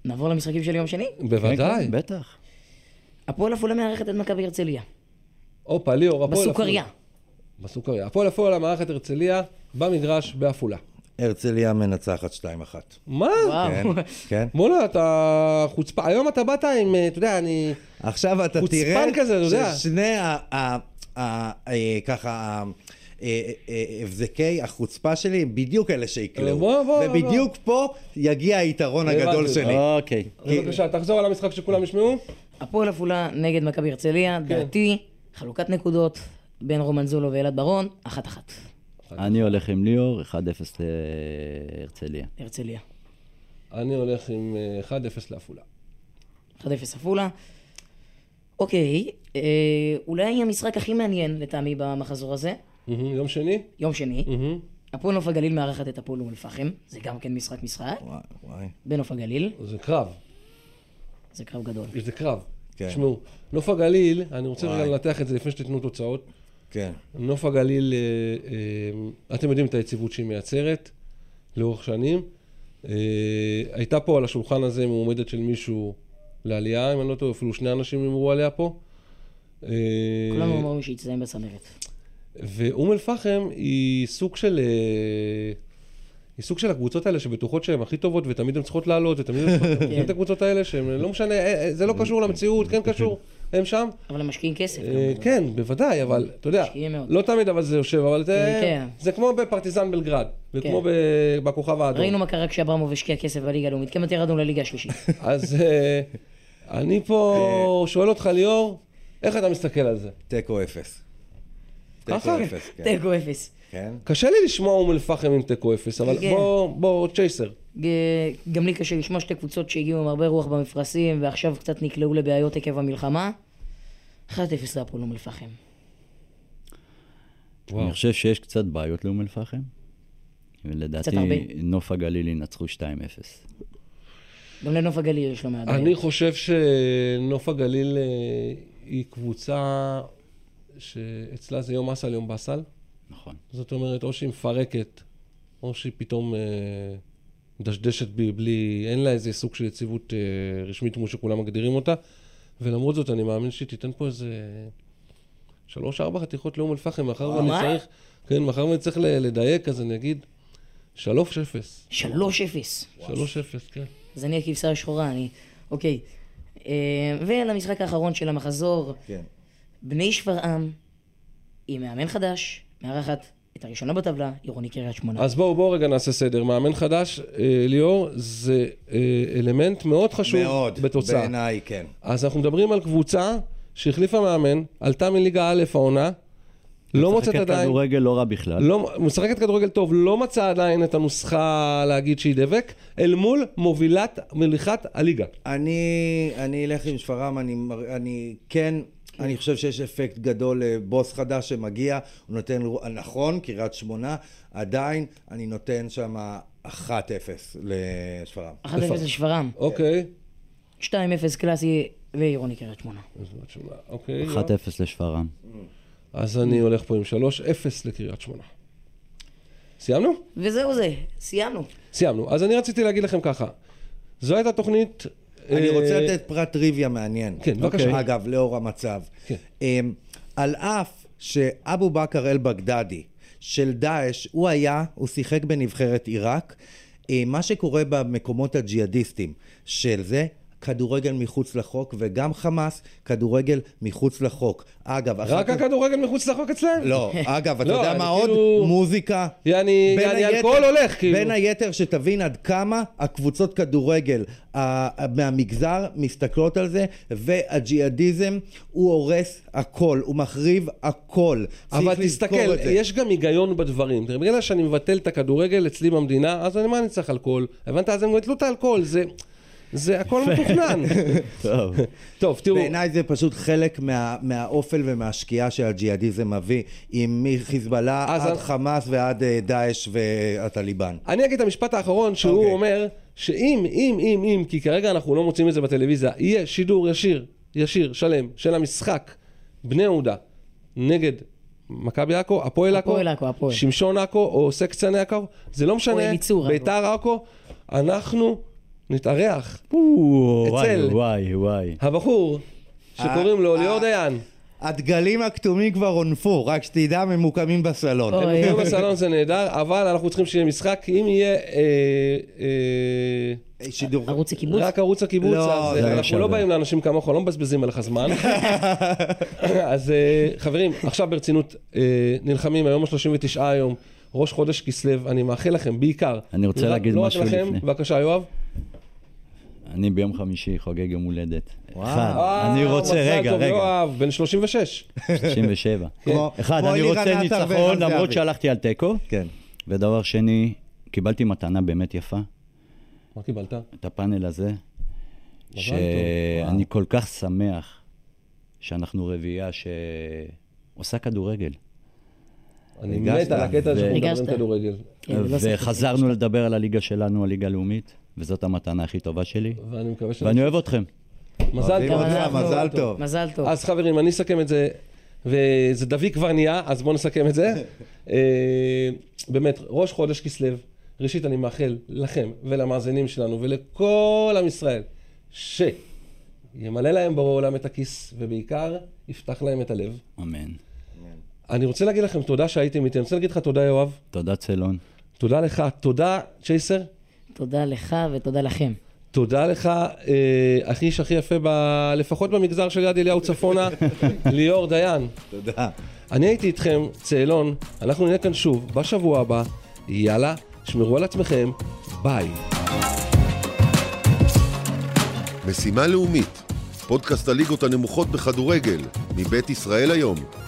S4: נעבור למשחקים של יום שני.
S2: בוודאי.
S3: כן, כן, בטח.
S4: הפועל עפולה מארחת את מכבי הרצליה.
S2: הופה, ליאור, הפועל...
S4: בסוכריה.
S2: עפולה. בסוכריה. הפועל עפולה, מערכת הרצליה, במגרש בעפולה.
S5: הרצליה מנצחת 2-1.
S2: מה?
S5: כן,
S4: וואו.
S5: כן.
S2: מולה, אתה חוצפה. היום אתה באת עם, אה, אתה יודע, אני...
S5: עכשיו אתה
S2: חוצפן
S5: תראה
S2: כזה, אתה יודע.
S5: ששני ה- ה- ה- אה, ככה ה- אה, אה, הבזקי החוצפה שלי הם בדיוק אלה
S2: אה,
S5: שיקלעו.
S2: בוא, בוא,
S5: ובדיוק פה יגיע היתרון
S2: הבנתי. אה.
S5: הגדול שלי.
S3: אוקיי.
S2: בבקשה, תחזור על המשחק שכולם
S5: אה.
S2: ישמעו.
S4: הפועל עפולה נגד מכבי הרצליה,
S2: כן.
S4: דעתי, חלוקת נקודות בין רומן זולו ואלעד ברון, אחת אחת.
S3: אני הולך עם ליאור, 1-0 להרצליה.
S4: הרצליה.
S2: אני הולך עם אה, 1-0 לעפולה.
S4: 1-0 עפולה. אוקיי, אה, אולי המשחק הכי מעניין לטעמי במחזור הזה,
S2: מהמם, יום שני?
S4: יום שני,
S2: מהמם.
S4: הפועל נוף הגליל מארחת את הפועל אום אל-פחם, זה גם כן משחק משחק,
S5: וואי, וואי.
S4: בנוף הגליל,
S2: זה קרב.
S4: זה קרב גדול.
S2: זה קרב.
S5: כן.
S2: תשמעו, נוף הגליל, אני רוצה רגע
S5: וואי.
S2: לנתח את זה לפני שתיתנו תוצאות.
S5: כן.
S2: נוף הגליל, אה, אה, אתם יודעים את היציבות שהיא מייצרת לאורך שנים. אה, הייתה פה על השולחן הזה מועמדת של מישהו לעלייה, אם אני לא טועה, אפילו שני אנשים אמרו עליה פה. אה,
S4: כולנו אומרים שיצטיין בצמרת.
S2: ואום אל-פחם היא סוג של... אה, היא סוג של הקבוצות האלה שבטוחות שהן הכי טובות ותמיד הן צריכות לעלות ותמיד הן צריכות... כן. את הקבוצות האלה שהן לא משנה, אה, אה, זה לא קשור למציאות, כן קשור, הם שם.
S4: אבל הם משקיעים כסף. גם.
S2: אה, כן, בוודאי, אבל אתה יודע,
S4: משקיעים מאוד.
S2: לא תמיד אבל זה יושב, אבל זה-
S4: אה, כן.
S2: זה כמו בפרטיזן בלגרד, וכמו
S4: כן.
S2: ב- בכוכב
S4: ראינו
S2: האדום.
S4: מה קרה כשאברמוב השקיע כסף בליגה הלאומית, כמעט ירדנו לליגה השלישית.
S2: אז אה, אני
S4: אה.
S2: פה שואל אותך, ליאור, איך אתה מסתכל על זה?
S5: תיקו אפס.
S2: ככה?
S5: תיקו אפס, כן.
S4: תיקו אפס.
S5: כן.
S2: קשה לי לשמוע אום אל-פחם עם תיקו אפס, אבל
S4: כן.
S2: בוא, בוא, צ'ייסר.
S4: ג- אה, גם לי קשה לשמוע שתי קבוצות שהגיעו עם הרבה רוח במפרשים ועכשיו קצת נקלעו לבעיות עקב המלחמה. 1-0 להפועל אום אל-פחם.
S2: וואו.
S3: אני חושב שיש קצת בעיות לאום אל-פחם.
S4: קצת
S3: ולדעתי
S4: הרבה.
S3: נוף הגליל ינצחו 2-0.
S4: גם לנוף הגליל יש לא מעט
S2: אני
S4: בעיות.
S2: חושב שנוף הגליל אה, היא קבוצה שאצלה זה יום אסל, יום באסל.
S3: נכון.
S2: זאת אומרת, או שהיא מפרקת, או שהיא פתאום אה, מדשדשת בי בלי, אין לה איזה סוג של יציבות אה, רשמית כמו שכולם מגדירים אותה. ולמרות זאת, אני מאמין שהיא תיתן פה איזה שלוש-ארבע חתיכות לאום אל-פחם, מאחר ואני
S4: מה?
S2: צריך, כן, מאחר ואני צריך ל- לדייק, אז אני אגיד שלוש אפס.
S4: 3-0.
S2: שלוש אפס, כן.
S4: אז אני הכבשה השחורה, אני... אוקיי. אה, ולמשחק האחרון של המחזור,
S5: כן.
S4: בני שפרעם, עם מאמן חדש, מארחת את הראשונה בטבלה, עירוני קריית שמונה.
S2: אז בואו, בואו רגע נעשה סדר. מאמן חדש, אה, ליאור, זה אה, אלמנט מאוד חשוב
S5: מאוד.
S2: בתוצאה.
S5: בעיניי, כן.
S2: אז אנחנו מדברים על קבוצה שהחליפה מאמן, עלתה מליגה א' העונה, לא מוצאת
S3: משחקת
S2: עדיין,
S3: כדורגל לא רע בכלל.
S2: לא, משחקת כדורגל טוב, לא מצאה עדיין את הנוסחה להגיד שהיא דבק, אל מול מובילת, מליכת הליגה.
S5: אני, אני אלך עם שפרעם, אני, מר- אני כן, אני חושב שיש אפקט גדול לבוס חדש שמגיע, הוא נותן, רו- נכון, קריית שמונה, עדיין, אני נותן שם 1-0 לשפרעם.
S4: 1-0 לשפרעם,
S2: אוקיי.
S4: 2-0 קלאסי ועירוני קריית שמונה.
S2: אז בוא תשמע, אוקיי.
S3: 1-0
S2: יואב.
S3: לשפרעם.
S2: אז אני הולך פה עם 3-0 לקריית שמונה. סיימנו?
S4: וזהו זה, סיימנו.
S2: סיימנו. אז אני רציתי להגיד לכם ככה, זו הייתה תוכנית...
S5: אני
S2: אה,
S5: רוצה לתת פרט טריוויה מעניין.
S2: כן, בבקשה.
S5: אוקיי. אגב, לאור המצב.
S2: כן.
S5: אמ, על אף שאבו בכר אל-בגדדי, של דאעש, הוא היה, הוא שיחק בנבחרת עיראק. אה, מה שקורה במקומות הג'יהאדיסטים של זה, כדורגל מחוץ לחוק, וגם חמאס, כדורגל מחוץ לחוק. אגב, אחר
S2: רק
S5: כך-
S2: הכדורגל מחוץ לחוק אצלהם?
S5: לא, אגב, אתה
S2: לא,
S5: יודע
S2: אני
S5: מה עוד?
S2: כאילו-
S5: מוזיקה.
S2: יעני,
S5: בין
S2: יעני,
S5: היתר-
S2: אלכוהול הולך, כאילו.
S5: בין היתר, שתבין עד כמה הקבוצות כדורגל ה- מהמגזר מסתכלות על זה, והג'יהאדיזם הוא הורס הכל, הוא מחריב הכל. צריך
S2: אבל
S5: לזכור
S2: תסתכל,
S5: את זה.
S2: יש גם היגיון בדברים. תראה, בגלל שאני מבטל את הכדורגל אצלי במדינה, אז אני- מה אני צריך אלכוהול? הבנת? אז הם גם יתלו את האלכוהול, זה... זה הכל מתוכנן.
S3: טוב.
S2: טוב, תראו,
S5: בעיניי זה פשוט חלק מה, מהאופל ומהשקיעה שהג'יהאדיזם מביא, עם מחיזבאללה
S2: אז
S5: עד
S2: אני-
S5: חמאס ועד אה, דאעש והטליבן.
S2: אני אגיד את המשפט האחרון שהוא
S5: אוקיי.
S2: אומר, שאם, אם, אם, אם, כי כרגע אנחנו לא מוצאים את זה בטלוויזיה, יהיה שידור ישיר, ישיר, שלם, של המשחק, בני יהודה, נגד מכבי עכו, הפועל עכו,
S4: הפועל עכו, הפועל.
S2: שמשון עכו, או סקציה עכו, זה לא משנה,
S4: הפועל יצור עכו.
S2: ביתר עכו, אנחנו נתארח
S3: וואי,
S2: אצל
S3: וואי, וואי.
S2: הבחור שקוראים לו ליאור דיין.
S5: הדגלים הכתומים כבר הונפו, רק שתדע, ממוקמים בסלון.
S4: אוי.
S2: היום בסלון אוקיי. זה נהדר, אבל אנחנו צריכים שיהיה משחק, אם יהיה... אה, אה,
S5: שידור...
S4: ערוץ הקיבוץ?
S2: רק ערוץ הקיבוץ,
S5: לא,
S2: אז
S5: זה
S2: אה,
S3: לא
S2: אנחנו לא
S3: שווה.
S2: באים לאנשים כמוך, לא מבזבזים עליך זמן. אז אה, חברים, עכשיו ברצינות, אה, נלחמים, היום ה-39 היום, ראש חודש כסלו, אני מאחל לכם, בעיקר.
S3: אני רוצה
S2: לא-
S3: להגיד משהו
S2: לא רק לכם,
S3: לפני.
S2: בבקשה יואב.
S3: אני ביום חמישי חוגג יום הולדת.
S5: וואו.
S3: אחד.
S2: אה,
S3: אני רוצה,
S2: מזל
S3: רגע,
S2: טוב,
S3: רגע.
S2: יואב, בן 36.
S3: 97.
S5: כן. כמו-
S3: אחד,
S5: כמו
S3: אני
S5: אלירן
S3: רוצה
S5: עטר וערן
S3: ניצחון, למרות
S5: זהבי.
S3: שהלכתי על תיקו.
S5: כן.
S3: ודבר שני, קיבלתי מתנה באמת יפה,
S2: מה קיבלת?
S3: את הפאנל הזה,
S2: טוב,
S3: שאני כל כך שמח שאנחנו רביעייה שעושה כדורגל.
S2: אני
S5: ריגשת.
S2: מת על הקטע הזה שאנחנו מדברים
S4: ריגשת.
S2: כדורגל.
S4: כן, לא שיחקתי.
S3: וחזרנו לדבר על הליגה שלנו, הליגה הלאומית, וזאת המתנה הכי טובה שלי.
S2: ואני מקווה ש...
S3: ואני אוהב אתכם.
S2: מזל
S5: אוהבים
S2: טוב.
S5: אותך, מזל טוב.
S4: מזל טוב.
S2: אז חברים, אני אסכם את זה, וזה דבי כבר נהיה, אז בואו נסכם את זה. אה, באמת, ראש חודש כסלו, ראשית אני מאחל לכם ולמאזינים שלנו ולכל עם ישראל, שימלא להם ברור העולם את הכיס, ובעיקר יפתח להם את הלב.
S3: אמן.
S2: אני רוצה להגיד לכם תודה שהייתם איתי, אני רוצה להגיד לך תודה יואב,
S3: תודה צלון.
S2: תודה לך, תודה צ'ייסר,
S4: תודה לך ותודה לכם.
S2: תודה לך, אה, האיש הכי יפה, ב... לפחות במגזר של יד אליהו צפונה, ליאור דיין.
S5: תודה.
S2: אני הייתי איתכם, צאלון, אנחנו נהיה כאן שוב בשבוע הבא, יאללה, שמרו על עצמכם, ביי.
S1: משימה לאומית, פודקאסט הליגות הנמוכות בכדורגל, מבית ישראל היום.